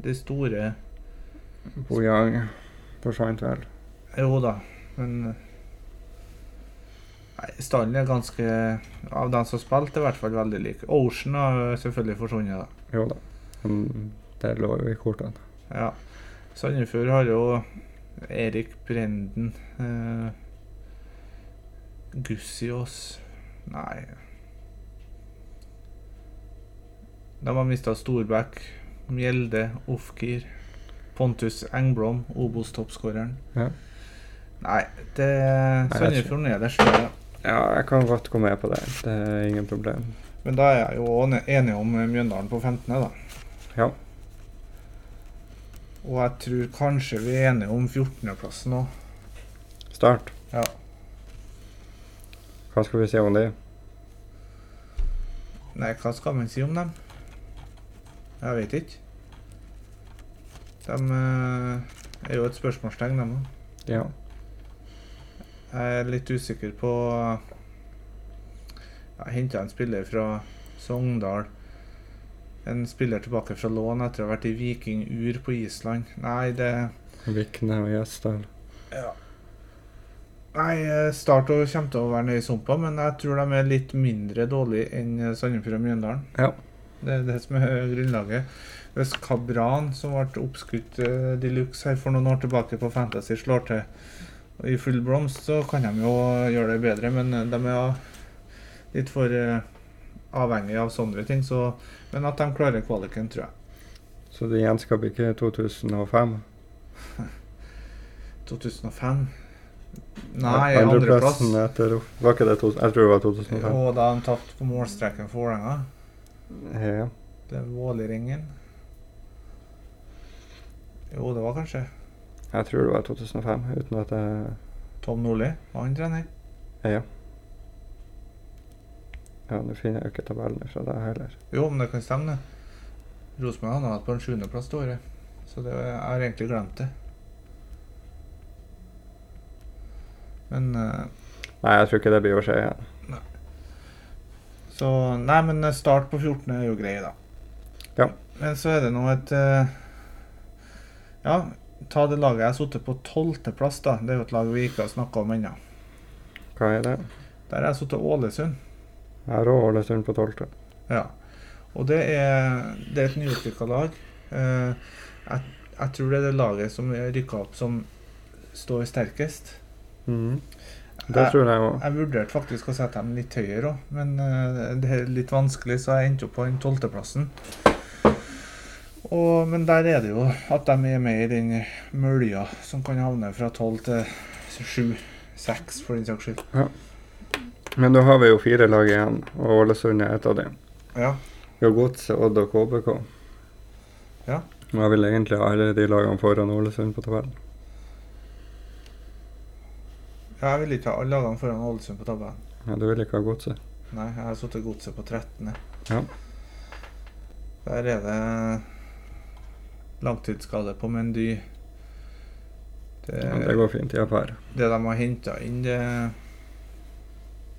[SPEAKER 2] de store
[SPEAKER 1] Bojang forsvant vel.
[SPEAKER 2] Jo da, men eh, Nei, stallen er ganske Av dem som spilte, er i hvert fall veldig lik. Ocean har jo selvfølgelig forsvunnet, da.
[SPEAKER 1] Jo da. Men det lå jo i kortene.
[SPEAKER 2] Ja. Sandefjord har jo Erik Brenden. Eh, Gussiås Nei. De har mista Storbekk, Mjelde, Ofkir, Pontus Engblom, Obos-toppskåreren.
[SPEAKER 1] Ja.
[SPEAKER 2] Nei, det
[SPEAKER 1] Nei, jeg
[SPEAKER 2] Sandefjord nederst. ja.
[SPEAKER 1] Ja, jeg kan godt gå med på det. Det er ingen problem.
[SPEAKER 2] Men da er jeg jo også ne- enig om Mjøndalen på 15., da.
[SPEAKER 1] Ja.
[SPEAKER 2] Og jeg tror kanskje vi er enige om 14.-plassen òg.
[SPEAKER 1] Start.
[SPEAKER 2] Ja.
[SPEAKER 1] Hva skal vi si om det?
[SPEAKER 2] Nei, hva skal man si om dem? Jeg vet ikke. De eh, er jo et spørsmålstegn, dem òg.
[SPEAKER 1] Ja.
[SPEAKER 2] Jeg er litt usikker på Jeg henta en spiller fra Sogndal. En spiller tilbake fra lån etter å ha vært i Vikingur på Island. Nei, det
[SPEAKER 1] Vikne og Gjesdal.
[SPEAKER 2] ja. Nei, eh, Start og kommer til å være nede i sumpa, men jeg tror de er litt mindre dårlige enn eh, Sandefjord og Mjøndalen.
[SPEAKER 1] Ja.
[SPEAKER 2] Det er det som er grunnlaget. Hvis Kabran, som ble oppskutt eh, de luxe her for noen år tilbake på Fantasy, slår til i full blomst, så kan de jo gjøre det bedre, men eh, de er ja litt for eh, avhengige av sånne ting. Så, men at de klarer kvaliken, tror jeg.
[SPEAKER 1] Så det gjenskaper ikke 2005.
[SPEAKER 2] 2005? Nei, andreplass.
[SPEAKER 1] Andreplassen etter Var ikke det to, Jeg tror det var 2005.
[SPEAKER 2] Og da de tapte på målstreken for Vålerenga.
[SPEAKER 1] Ja.
[SPEAKER 2] Det er Vålerengen. Jo, det var kanskje
[SPEAKER 1] Jeg tror det var 2005, uten at jeg
[SPEAKER 2] Tom Nordli. Var han trener?
[SPEAKER 1] Ja, nå finner jeg jo ikke tabellen fra deg heller.
[SPEAKER 2] Jo, men det kan stemme, det. Rosenborg han har vært på en sjuendeplass det året. Så det, jeg har egentlig glemt det. Men eh,
[SPEAKER 1] Nei, jeg tror ikke det blir å skje igjen.
[SPEAKER 2] Så Nei, men eh, start på 14 er jo grei, da.
[SPEAKER 1] Ja.
[SPEAKER 2] Men så er det nå et eh, Ja, ta det laget jeg har sittet på 12. plass, da. Det er jo et lag vi ikke har snakka om ennå.
[SPEAKER 1] Hva er det?
[SPEAKER 2] Der har jeg sittet Ålesund.
[SPEAKER 1] Jeg har òg Ålesund på 12.
[SPEAKER 2] Ja. Og det er, det er et nyopprykka lag. Eh, jeg, jeg tror det er det laget som rykka opp, som står sterkest.
[SPEAKER 1] Mhm. Det
[SPEAKER 2] Jeg-
[SPEAKER 1] tror jeg òg.
[SPEAKER 2] Jeg vurderte faktisk å sette dem litt høyere òg, men eh, det er litt vanskelig, så jeg endte opp på den tolvteplassen. Og- Men der er det jo at de er med i den mølja som kan havne fra tolv til sju. Seks, for den saks skyld.
[SPEAKER 1] Men nå har vi jo fire lag igjen, og Ålesund er et av dem.
[SPEAKER 2] Ja.
[SPEAKER 1] Vi har Godset, Odd og KBK.
[SPEAKER 2] Ja.
[SPEAKER 1] Og jeg vil egentlig ha alle de lagene foran Ålesund på tabellen.
[SPEAKER 2] Jeg vil ikke ha alle lagene foran Ålesund på tabben.
[SPEAKER 1] Ja, du vil ikke ha Godset?
[SPEAKER 2] Nei, jeg har sittet godset på 13.
[SPEAKER 1] Ja.
[SPEAKER 2] Der er det langtidsskade på Mendy. Det-
[SPEAKER 1] Ja, det går fint. Jeg er par.
[SPEAKER 2] Det de har henta inn, det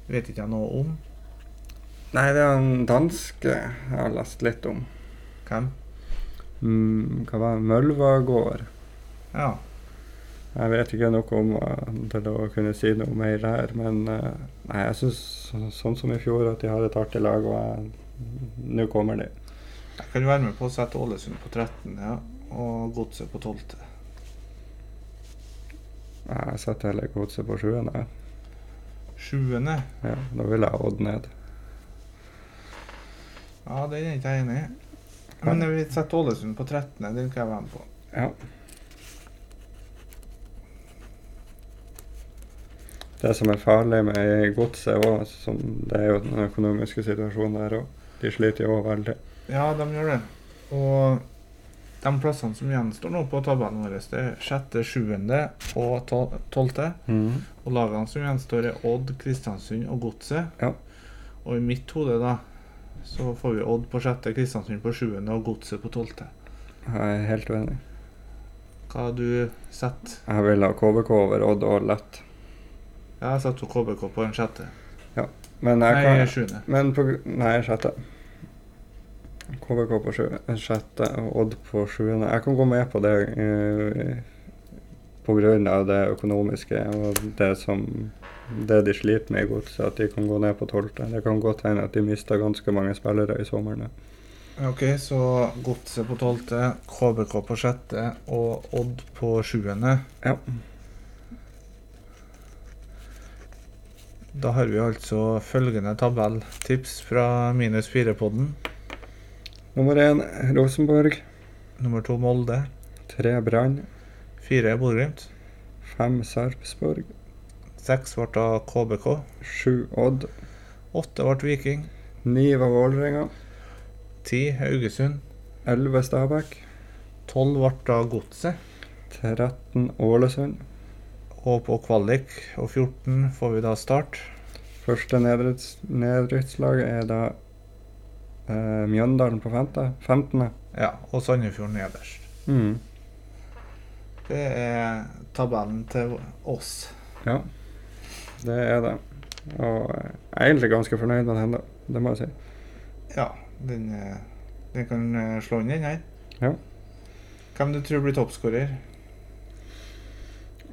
[SPEAKER 2] vet ikke jeg noe om.
[SPEAKER 1] Nei, det er en danske jeg har lest litt om.
[SPEAKER 2] Hvem?
[SPEAKER 1] Mm, hva var det? Mølvagård.
[SPEAKER 2] Ja.
[SPEAKER 1] Jeg vet ikke noe om eh, til å kunne si noe mer her, men eh, nei, jeg syns sånn som i fjor at de har et artig lag, og jeg- nå kommer de.
[SPEAKER 2] Jeg kan være med på å sette Ålesund på 13. Ja. Og Godset på 12.
[SPEAKER 1] Jeg setter heller Godset på sjuende.
[SPEAKER 2] 7. Ja,
[SPEAKER 1] Ja, da vil jeg ha Odd ned.
[SPEAKER 2] den er ikke jeg enig i. Men vi setter Ålesund på 13., den kan jeg være med på.
[SPEAKER 1] Ja. Det som er farlig med godset òg, det er jo den økonomiske situasjonen der òg. De sliter jo òg veldig.
[SPEAKER 2] Ja, de gjør det. Og de plassene som gjenstår nå på tabellen vår, det er 6., 7. og 12. Og lagene som gjenstår, er Odd, Kristiansund og Godset.
[SPEAKER 1] Ja.
[SPEAKER 2] Og i mitt hode, da, så får vi Odd på sjette, Kristiansund på sjuende og Godset på tolvte.
[SPEAKER 1] Jeg er helt uenig.
[SPEAKER 2] Hva har du sett?
[SPEAKER 1] Jeg vil ha KBK over Odd og lett.
[SPEAKER 2] Jeg har satt jo KBK på en sjette.
[SPEAKER 1] Men jeg
[SPEAKER 2] Nei,
[SPEAKER 1] kan
[SPEAKER 2] sjuende.
[SPEAKER 1] men på, gr- Nei, sjette. KBK på sju, sjette og Odd på sjuende. Jeg kan gå med på det eh, på grunn av det økonomiske og det som det de sliter med i godset, at de kan gå ned på tolvte. Det kan godt hende at de mister ganske mange spillere i sommeren.
[SPEAKER 2] Ok, så Godset på tolvte, KBK på sjette og Odd på sjuende.
[SPEAKER 1] Ja.
[SPEAKER 2] Da har vi altså følgende tabelltips fra minus fire-podden.
[SPEAKER 1] Nummer én Rosenborg.
[SPEAKER 2] Nummer to Molde.
[SPEAKER 1] Tre Brann.
[SPEAKER 2] Fire Bodø-Glimt.
[SPEAKER 1] Fem Sarpsborg.
[SPEAKER 2] Seks ble da KBK.
[SPEAKER 1] Sju Odd.
[SPEAKER 2] Åtte ble Viking.
[SPEAKER 1] Ni var Vålerenga.
[SPEAKER 2] Ti Haugesund.
[SPEAKER 1] Elleve Stabæk.
[SPEAKER 2] Tolv ble da Godset.
[SPEAKER 1] 13 Ålesund.
[SPEAKER 2] Og på kvalik og 14 får vi da Start.
[SPEAKER 1] Første nedrykks- nedrykkslag er da eh, Mjøndalen på femte, 15.
[SPEAKER 2] Ja, og Sandefjord nederst.
[SPEAKER 1] Mm.
[SPEAKER 2] Det er tabellen til oss.
[SPEAKER 1] Ja, det er det. Og eh, jeg er egentlig ganske fornøyd med den, da. Det må jeg si.
[SPEAKER 2] Ja, den, eh, den kan eh, slå inn den her.
[SPEAKER 1] Ja.
[SPEAKER 2] Hvem du tror blir toppskårer?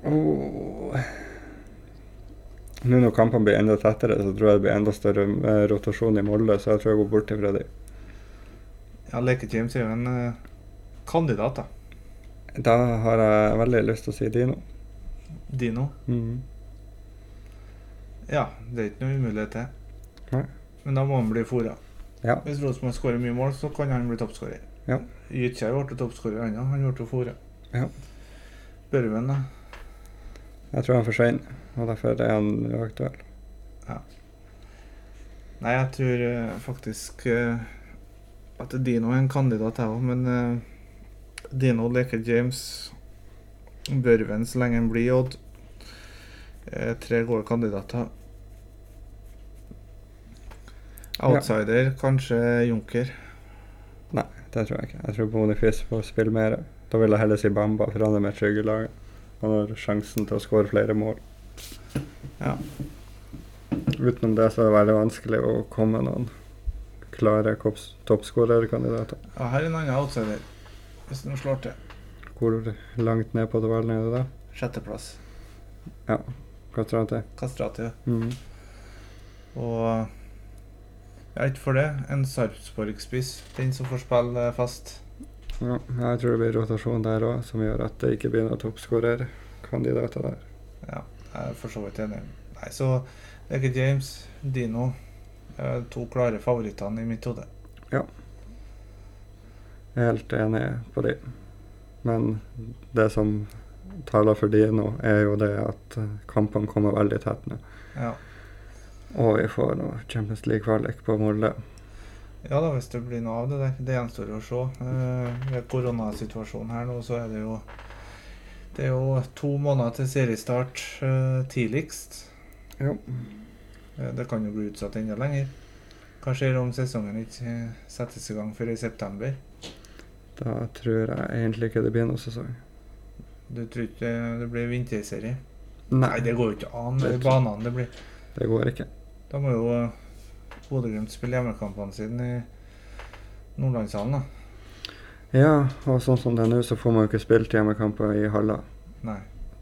[SPEAKER 1] Åh. Nå når kampene blir enda tettere, så tror jeg det blir enda større eh, rotasjon i Molde, så jeg tror jeg går bort ifra de.
[SPEAKER 2] Ja, Leke James er jo en eh, kandidat, da.
[SPEAKER 1] Da har jeg veldig lyst til å si Dino.
[SPEAKER 2] Dino.
[SPEAKER 1] Mhm.
[SPEAKER 2] Ja, det er ikke noe umulighet til.
[SPEAKER 1] Nei.
[SPEAKER 2] Men da må han bli fôra.
[SPEAKER 1] Ja.
[SPEAKER 2] Hvis Rosenborg skårer mye mål, så kan han bli toppskårer.
[SPEAKER 1] Ja.
[SPEAKER 2] Gytkjær ble toppskårer, han òg. Han ble jo fôra.
[SPEAKER 1] Ja.
[SPEAKER 2] Børven, da.
[SPEAKER 1] Jeg tror han forsvinner, og derfor er han uaktuell.
[SPEAKER 2] Nei, jeg tror eh, faktisk eh, at Dino er en kandidat, jeg òg. Men eh, Dino leker James. Børven så lenge han blir Odd. Eh, tre gode kandidater. Outsider, kanskje Junker.
[SPEAKER 1] Det tror jeg ikke. Jeg tror Boniface får spille mer. Da vil jeg heller si Bamba, for han er mer trygg i laget. Han har sjansen til å skåre flere mål.
[SPEAKER 2] Ja.
[SPEAKER 1] Utenom det så er det veldig vanskelig å komme noen klare kops- toppskårerkandidater.
[SPEAKER 2] Ja, her er en annen outsider, hvis den slår til.
[SPEAKER 1] Hvor langt ned på tabellen er det da?
[SPEAKER 2] Sjetteplass.
[SPEAKER 1] Hva tror jeg det er?
[SPEAKER 2] Kastrati.
[SPEAKER 1] Mhm.
[SPEAKER 2] Og ja, ikke for det. En Sarpsborg-spiss. Den som får spille eh, fast.
[SPEAKER 1] Ja, jeg tror det blir rotasjon der òg, som gjør at det ikke blir noen toppskårerkandidater der.
[SPEAKER 2] Ja, jeg er for så vidt enig. Nei, så det er ikke James, Dino. eh, To klare favorittene i mitt hode.
[SPEAKER 1] Jeg er helt enig på de. Men det som taler for de nå, er jo det at eh, kampene kommer veldig tett nå.
[SPEAKER 2] Ja.
[SPEAKER 1] Og vi får nå Champions League-kvalik på Molde.
[SPEAKER 2] ja da, hvis det blir noe av det der. Det gjenstår jo å se. Eh, Ved koronasituasjonen her nå, så er det jo Det er jo to måneder til seriestart eh, tidligst.
[SPEAKER 1] Jo.
[SPEAKER 2] Eh, Det kan jo bli utsatt enda lenger. Hva skjer om sesongen ikke eh, settes i gang før i september?
[SPEAKER 1] Da tror jeg egentlig ikke det blir noen sesong.
[SPEAKER 2] Du tror ikke det blir vinterserie? Nei,
[SPEAKER 1] Nei,
[SPEAKER 2] det går jo ikke an.
[SPEAKER 1] Det
[SPEAKER 2] Det
[SPEAKER 1] er
[SPEAKER 2] er banene det blir.
[SPEAKER 1] det går ikke.
[SPEAKER 2] Da må jo eh, Bodø-Glimt spille hjemmekampene sine i Nordlandshallen, da.
[SPEAKER 1] Ja, og sånn som det er nå, så får man jo ikke spilt hjemmekamper i Halla.
[SPEAKER 2] Nei.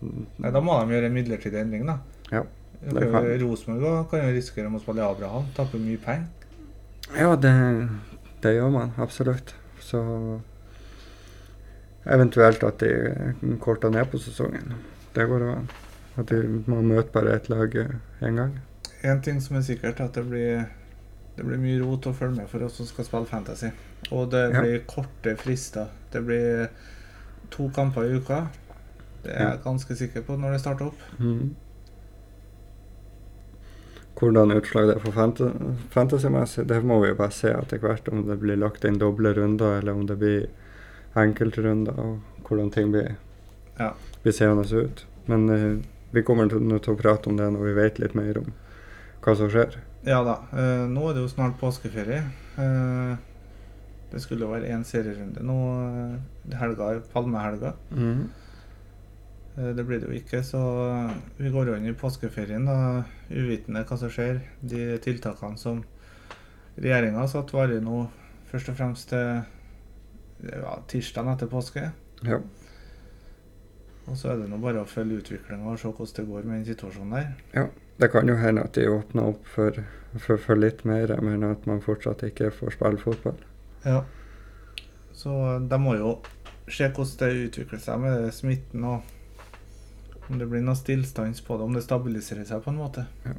[SPEAKER 2] Nei, da må de gjøre en midlertidig endring, da.
[SPEAKER 1] Ja,
[SPEAKER 2] Da
[SPEAKER 1] det
[SPEAKER 2] kan
[SPEAKER 1] kan-
[SPEAKER 2] jo- Rosenborg da kan jo risikere å spille i Abraham, tape mye penger.
[SPEAKER 1] Ja, det, det gjør man absolutt. Så eventuelt at de korter ned på sesongen. Det går jo an. At de, man møter bare ett lag én gang.
[SPEAKER 2] En ting som er sikkert, er at det blir, det blir mye rot å følge med for oss som skal spille Fantasy. Og det
[SPEAKER 1] Ja.
[SPEAKER 2] blir korte frister. Det blir to kamper i uka. Det er jeg ganske sikker på når det starter opp.
[SPEAKER 1] Mhm. Hvordan utslag det er for fant- fantasy-messig, det må vi jo bare se etter hvert. Om det blir lagt inn doble runder, eller om det blir enkeltrunder, og hvordan ting blir,
[SPEAKER 2] Ja.
[SPEAKER 1] blir seende ut. Men eh, vi kommer til, nå til å prate om det når vi vet litt mer om hva som skjer.
[SPEAKER 2] Ja da. eh, nå er det jo snart påskeferie. Eh, det skulle jo være én serierunde nå eh, helga, palmehelga. Eh, det blir det jo ikke, så eh, vi går jo inn i påskeferien da, uvitende hva som skjer. De tiltakene som regjeringa har satt, varer nå først og fremst til ja, tirsdagen etter påske.
[SPEAKER 1] Ja.
[SPEAKER 2] Og så er det nå bare å følge utviklinga og se hvordan det går med den situasjonen der.
[SPEAKER 1] Det kan jo hende at de åpner opp for, for, for litt mer, men at man fortsatt ikke får spille fotball.
[SPEAKER 2] Ja. Så de må jo se hvordan det utvikler seg med smitten, og om det blir noe stillstans på det, om det stabiliserer seg på en måte.
[SPEAKER 1] Så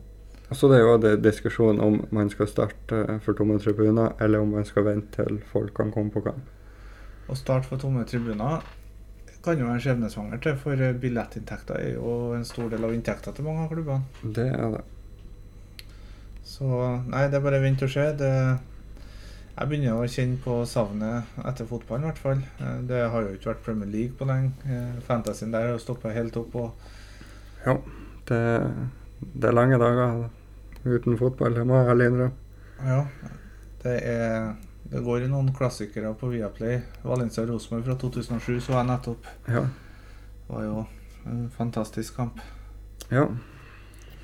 [SPEAKER 1] Altså, det er jo det diskusjon om man skal starte eh, for tomme tribuner, eller om man skal vente til folk kan komme på kamp.
[SPEAKER 2] Å starte for tomme tribuner kan jo være skjebnesvanger til, for billettinntekter er jo en stor del av inntekta til mange av klubbene.
[SPEAKER 1] Det er det.
[SPEAKER 2] Så nei, det er bare vent og se. Det, jeg begynner å kjenne på savnet etter fotballen, i hvert fall. Eh, Det har jo ikke vært Premier League på lenge. Eh, Fantasyen der har jo stoppa helt opp. og
[SPEAKER 1] det. Det er lange dager uten fotball, det må jeg ærlig innrømme.
[SPEAKER 2] Ja, det er Det går i noen klassikere på Viaplay. Valencia Rosenborg fra 2007 så jeg nettopp.
[SPEAKER 1] Ja.
[SPEAKER 2] Det var jo en fantastisk kamp.
[SPEAKER 1] ja.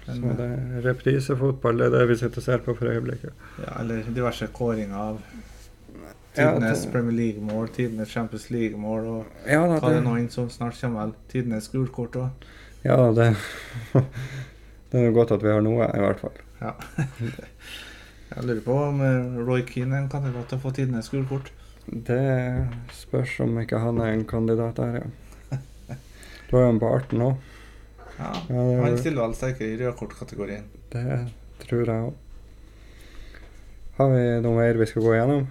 [SPEAKER 2] Men,
[SPEAKER 1] Så det er reprisefotball, det er det vi sitter og ser på for øyeblikket.
[SPEAKER 2] ja, eller diverse kåringer av
[SPEAKER 1] Ja,
[SPEAKER 2] tidenes
[SPEAKER 1] det-
[SPEAKER 2] Premier League-mål, tidenes Champions League-mål og
[SPEAKER 1] Ja da,
[SPEAKER 2] hva det nå enn som snart kommer vel. Tidenes gulkort òg.
[SPEAKER 1] ja, da, det, *laughs* det er jo godt at vi har noe, i hvert fall.
[SPEAKER 2] Jeg lurer på om eh, Roy Keane er en kandidat til å få tidenes gulkort.
[SPEAKER 1] Det spørs om ikke han er en kandidat der, ja. *laughs* Du har jo en på arten òg.
[SPEAKER 2] Ja,
[SPEAKER 1] Ja, det er
[SPEAKER 2] Han
[SPEAKER 1] det.
[SPEAKER 2] stiller vel sterkere i rødkortkategorien.
[SPEAKER 1] Det tror jeg òg. Har vi noe mer vi skal gå gjennom?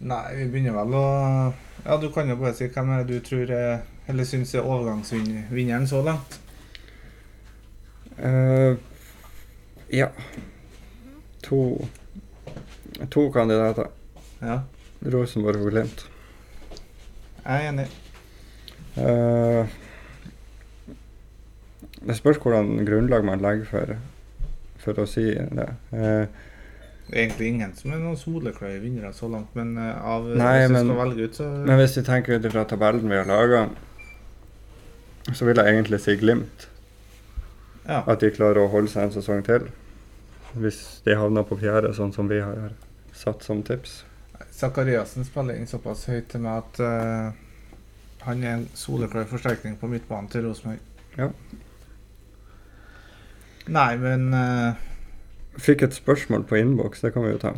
[SPEAKER 2] Nei, vi begynner vel å Ja, du kan jo bare si hvem er det du tror er, eller syns er overgangsvinneren så langt.
[SPEAKER 1] Eh, ja. To To kandidater.
[SPEAKER 2] Ja,
[SPEAKER 1] Rosenborg og Glimt.
[SPEAKER 2] jeg er enig.
[SPEAKER 1] Eh, det spørs hvordan grunnlag man legger for, for å si det. Eh,
[SPEAKER 2] Det er egentlig ingen som er noen soleklare vinnere så langt, men eh, av
[SPEAKER 1] Nei,
[SPEAKER 2] hvis du
[SPEAKER 1] men-
[SPEAKER 2] skal velge ut, så
[SPEAKER 1] men hvis vi tenker ut ifra tabellen vi har laga, så vil jeg egentlig si Glimt.
[SPEAKER 2] Ja.
[SPEAKER 1] At de klarer å holde seg en sesong til. Hvis de havner på fjerde, sånn som vi har satt som tips.
[SPEAKER 2] Zakariassen spiller inn såpass høyt til meg at eh, han er en soleklar forsterkning på midtbanen til Rosenborg.
[SPEAKER 1] Ja.
[SPEAKER 2] Nei, men eh,
[SPEAKER 1] Fikk et spørsmål på innboks, det kan vi jo ta.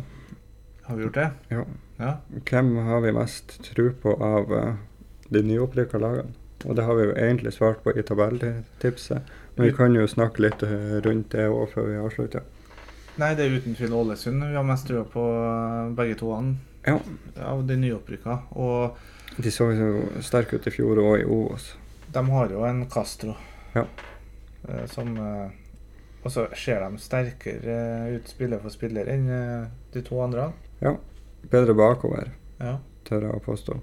[SPEAKER 2] har vi gjort det?
[SPEAKER 1] Ja.
[SPEAKER 2] Ja,
[SPEAKER 1] Hvem har vi mest tro på av eh, de nyopprykka lagene? Og det har vi jo egentlig svart på i tabelltipset, men vi kan jo snakke litt eh, rundt det òg før vi avslutter.
[SPEAKER 2] Nei, det er uten tvil Ålesund. Vi har mest trua på eh, begge toene
[SPEAKER 1] Ja.
[SPEAKER 2] av de nyopprykka. Og
[SPEAKER 1] De så jo sterke ut i fjor og i Ovos.
[SPEAKER 2] de har jo en Castro
[SPEAKER 1] Ja.
[SPEAKER 2] eh, som eh, Og så ser de sterkere eh, ut spiller for spiller enn eh, de to andre.
[SPEAKER 1] Bedre bakover,
[SPEAKER 2] Ja.
[SPEAKER 1] tør jeg å påstå.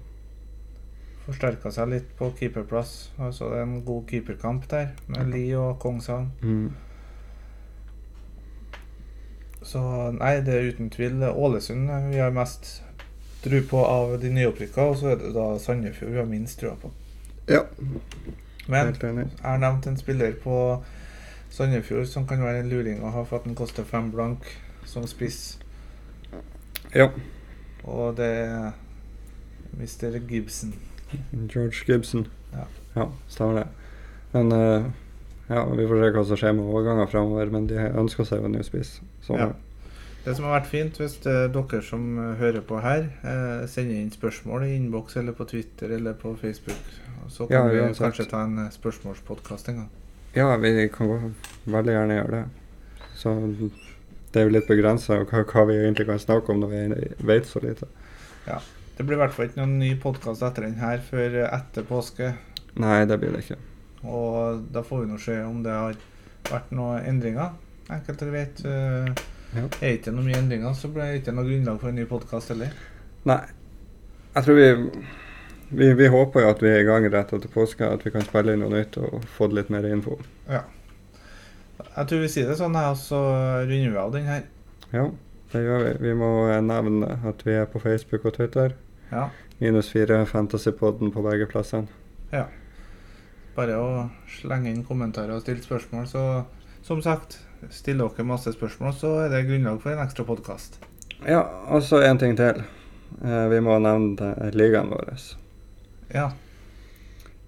[SPEAKER 2] Forsterka seg litt på keeperplass. Altså det er en god keeperkamp der med Lie og Kongshavn.
[SPEAKER 1] Mm.
[SPEAKER 2] Så nei, det er uten tvil Ålesund eh, vi har mest tru på av de nyopprykka. Og så er det da Sandefjord vi har minst trua på.
[SPEAKER 1] Ja.
[SPEAKER 2] Men
[SPEAKER 1] Helt enig.
[SPEAKER 2] Jeg har nevnt en spiller på Sandefjord som kan være en luring å ha for at den koster fem blank som spiss.
[SPEAKER 1] Ja.
[SPEAKER 2] Og det er Mr. Gibson.
[SPEAKER 1] Mm, George Gibson.
[SPEAKER 2] Ja.
[SPEAKER 1] stemmer det. Men eh, ja, vi får se hva som skjer med overganger framover, men de ønsker seg jo en ny spiss. Så
[SPEAKER 2] Ja. Det som har vært fint, hvis det er dere som eh, hører på her, eh, sender inn spørsmål i innboks eller på Twitter eller på Facebook. Så
[SPEAKER 1] Ja,
[SPEAKER 2] kan vi
[SPEAKER 1] uansett.
[SPEAKER 2] kanskje ta en eh, spørsmålspodkast en gang.
[SPEAKER 1] Ja, vi kan gå- veldig gjerne gjøre det. Så det er jo litt begrensa hva, hva vi egentlig kan snakke om når vi vet så lite.
[SPEAKER 2] Det blir i hvert fall ikke noen ny podkast etter den her før eh, etter påske.
[SPEAKER 1] Nei, det blir det ikke.
[SPEAKER 2] Og da får vi nå se om det har vært noen endringer. Enkelt og greit. eh,
[SPEAKER 1] Ja.
[SPEAKER 2] Er det ikke noe mye endringer, så blir det ikke noe grunnlag for en ny podkast heller.
[SPEAKER 1] Nei. Jeg tror vi vi, vi håper jo at vi er i gang rett etter påske, at vi kan spille inn noe nytt og få litt mer info.
[SPEAKER 2] Jeg tror vi sier det sånn, her, og så runder vi av den her.
[SPEAKER 1] Ja, det gjør vi. Vi må eh, nevne at vi er på Facebook og Twitter.
[SPEAKER 2] Ja,
[SPEAKER 1] Minus fire Fantasypodden på begge plassene.
[SPEAKER 2] Bare å slenge inn kommentarer og stille spørsmål. Så som sagt, stiller dere masse spørsmål, så er det grunnlag for en ekstra podkast.
[SPEAKER 1] Ja, og så en ting til. Eh, Vi må nevne eh, ligaen vår,
[SPEAKER 2] Ja.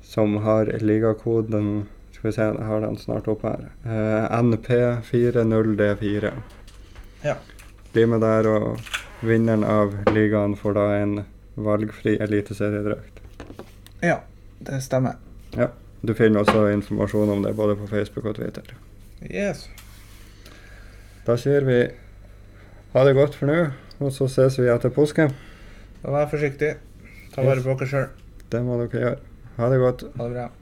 [SPEAKER 1] som har ligakoden Skal vi se, jeg har den snart opp her. Eh, NP40D4.
[SPEAKER 2] Ja.
[SPEAKER 1] Bli med der, og vinneren av ligaen får da en valgfri eliteseriedrakt.
[SPEAKER 2] ja, det stemmer.
[SPEAKER 1] Du finner også informasjon om det både på Facebook og Twitter.
[SPEAKER 2] Yes.
[SPEAKER 1] Da sier vi ha det godt for nå, og så ses vi etter påske.
[SPEAKER 2] Da vær forsiktig. Ta vare på dere sjøl.
[SPEAKER 1] Det må dere gjøre. Ha det godt.
[SPEAKER 2] Ha det bra.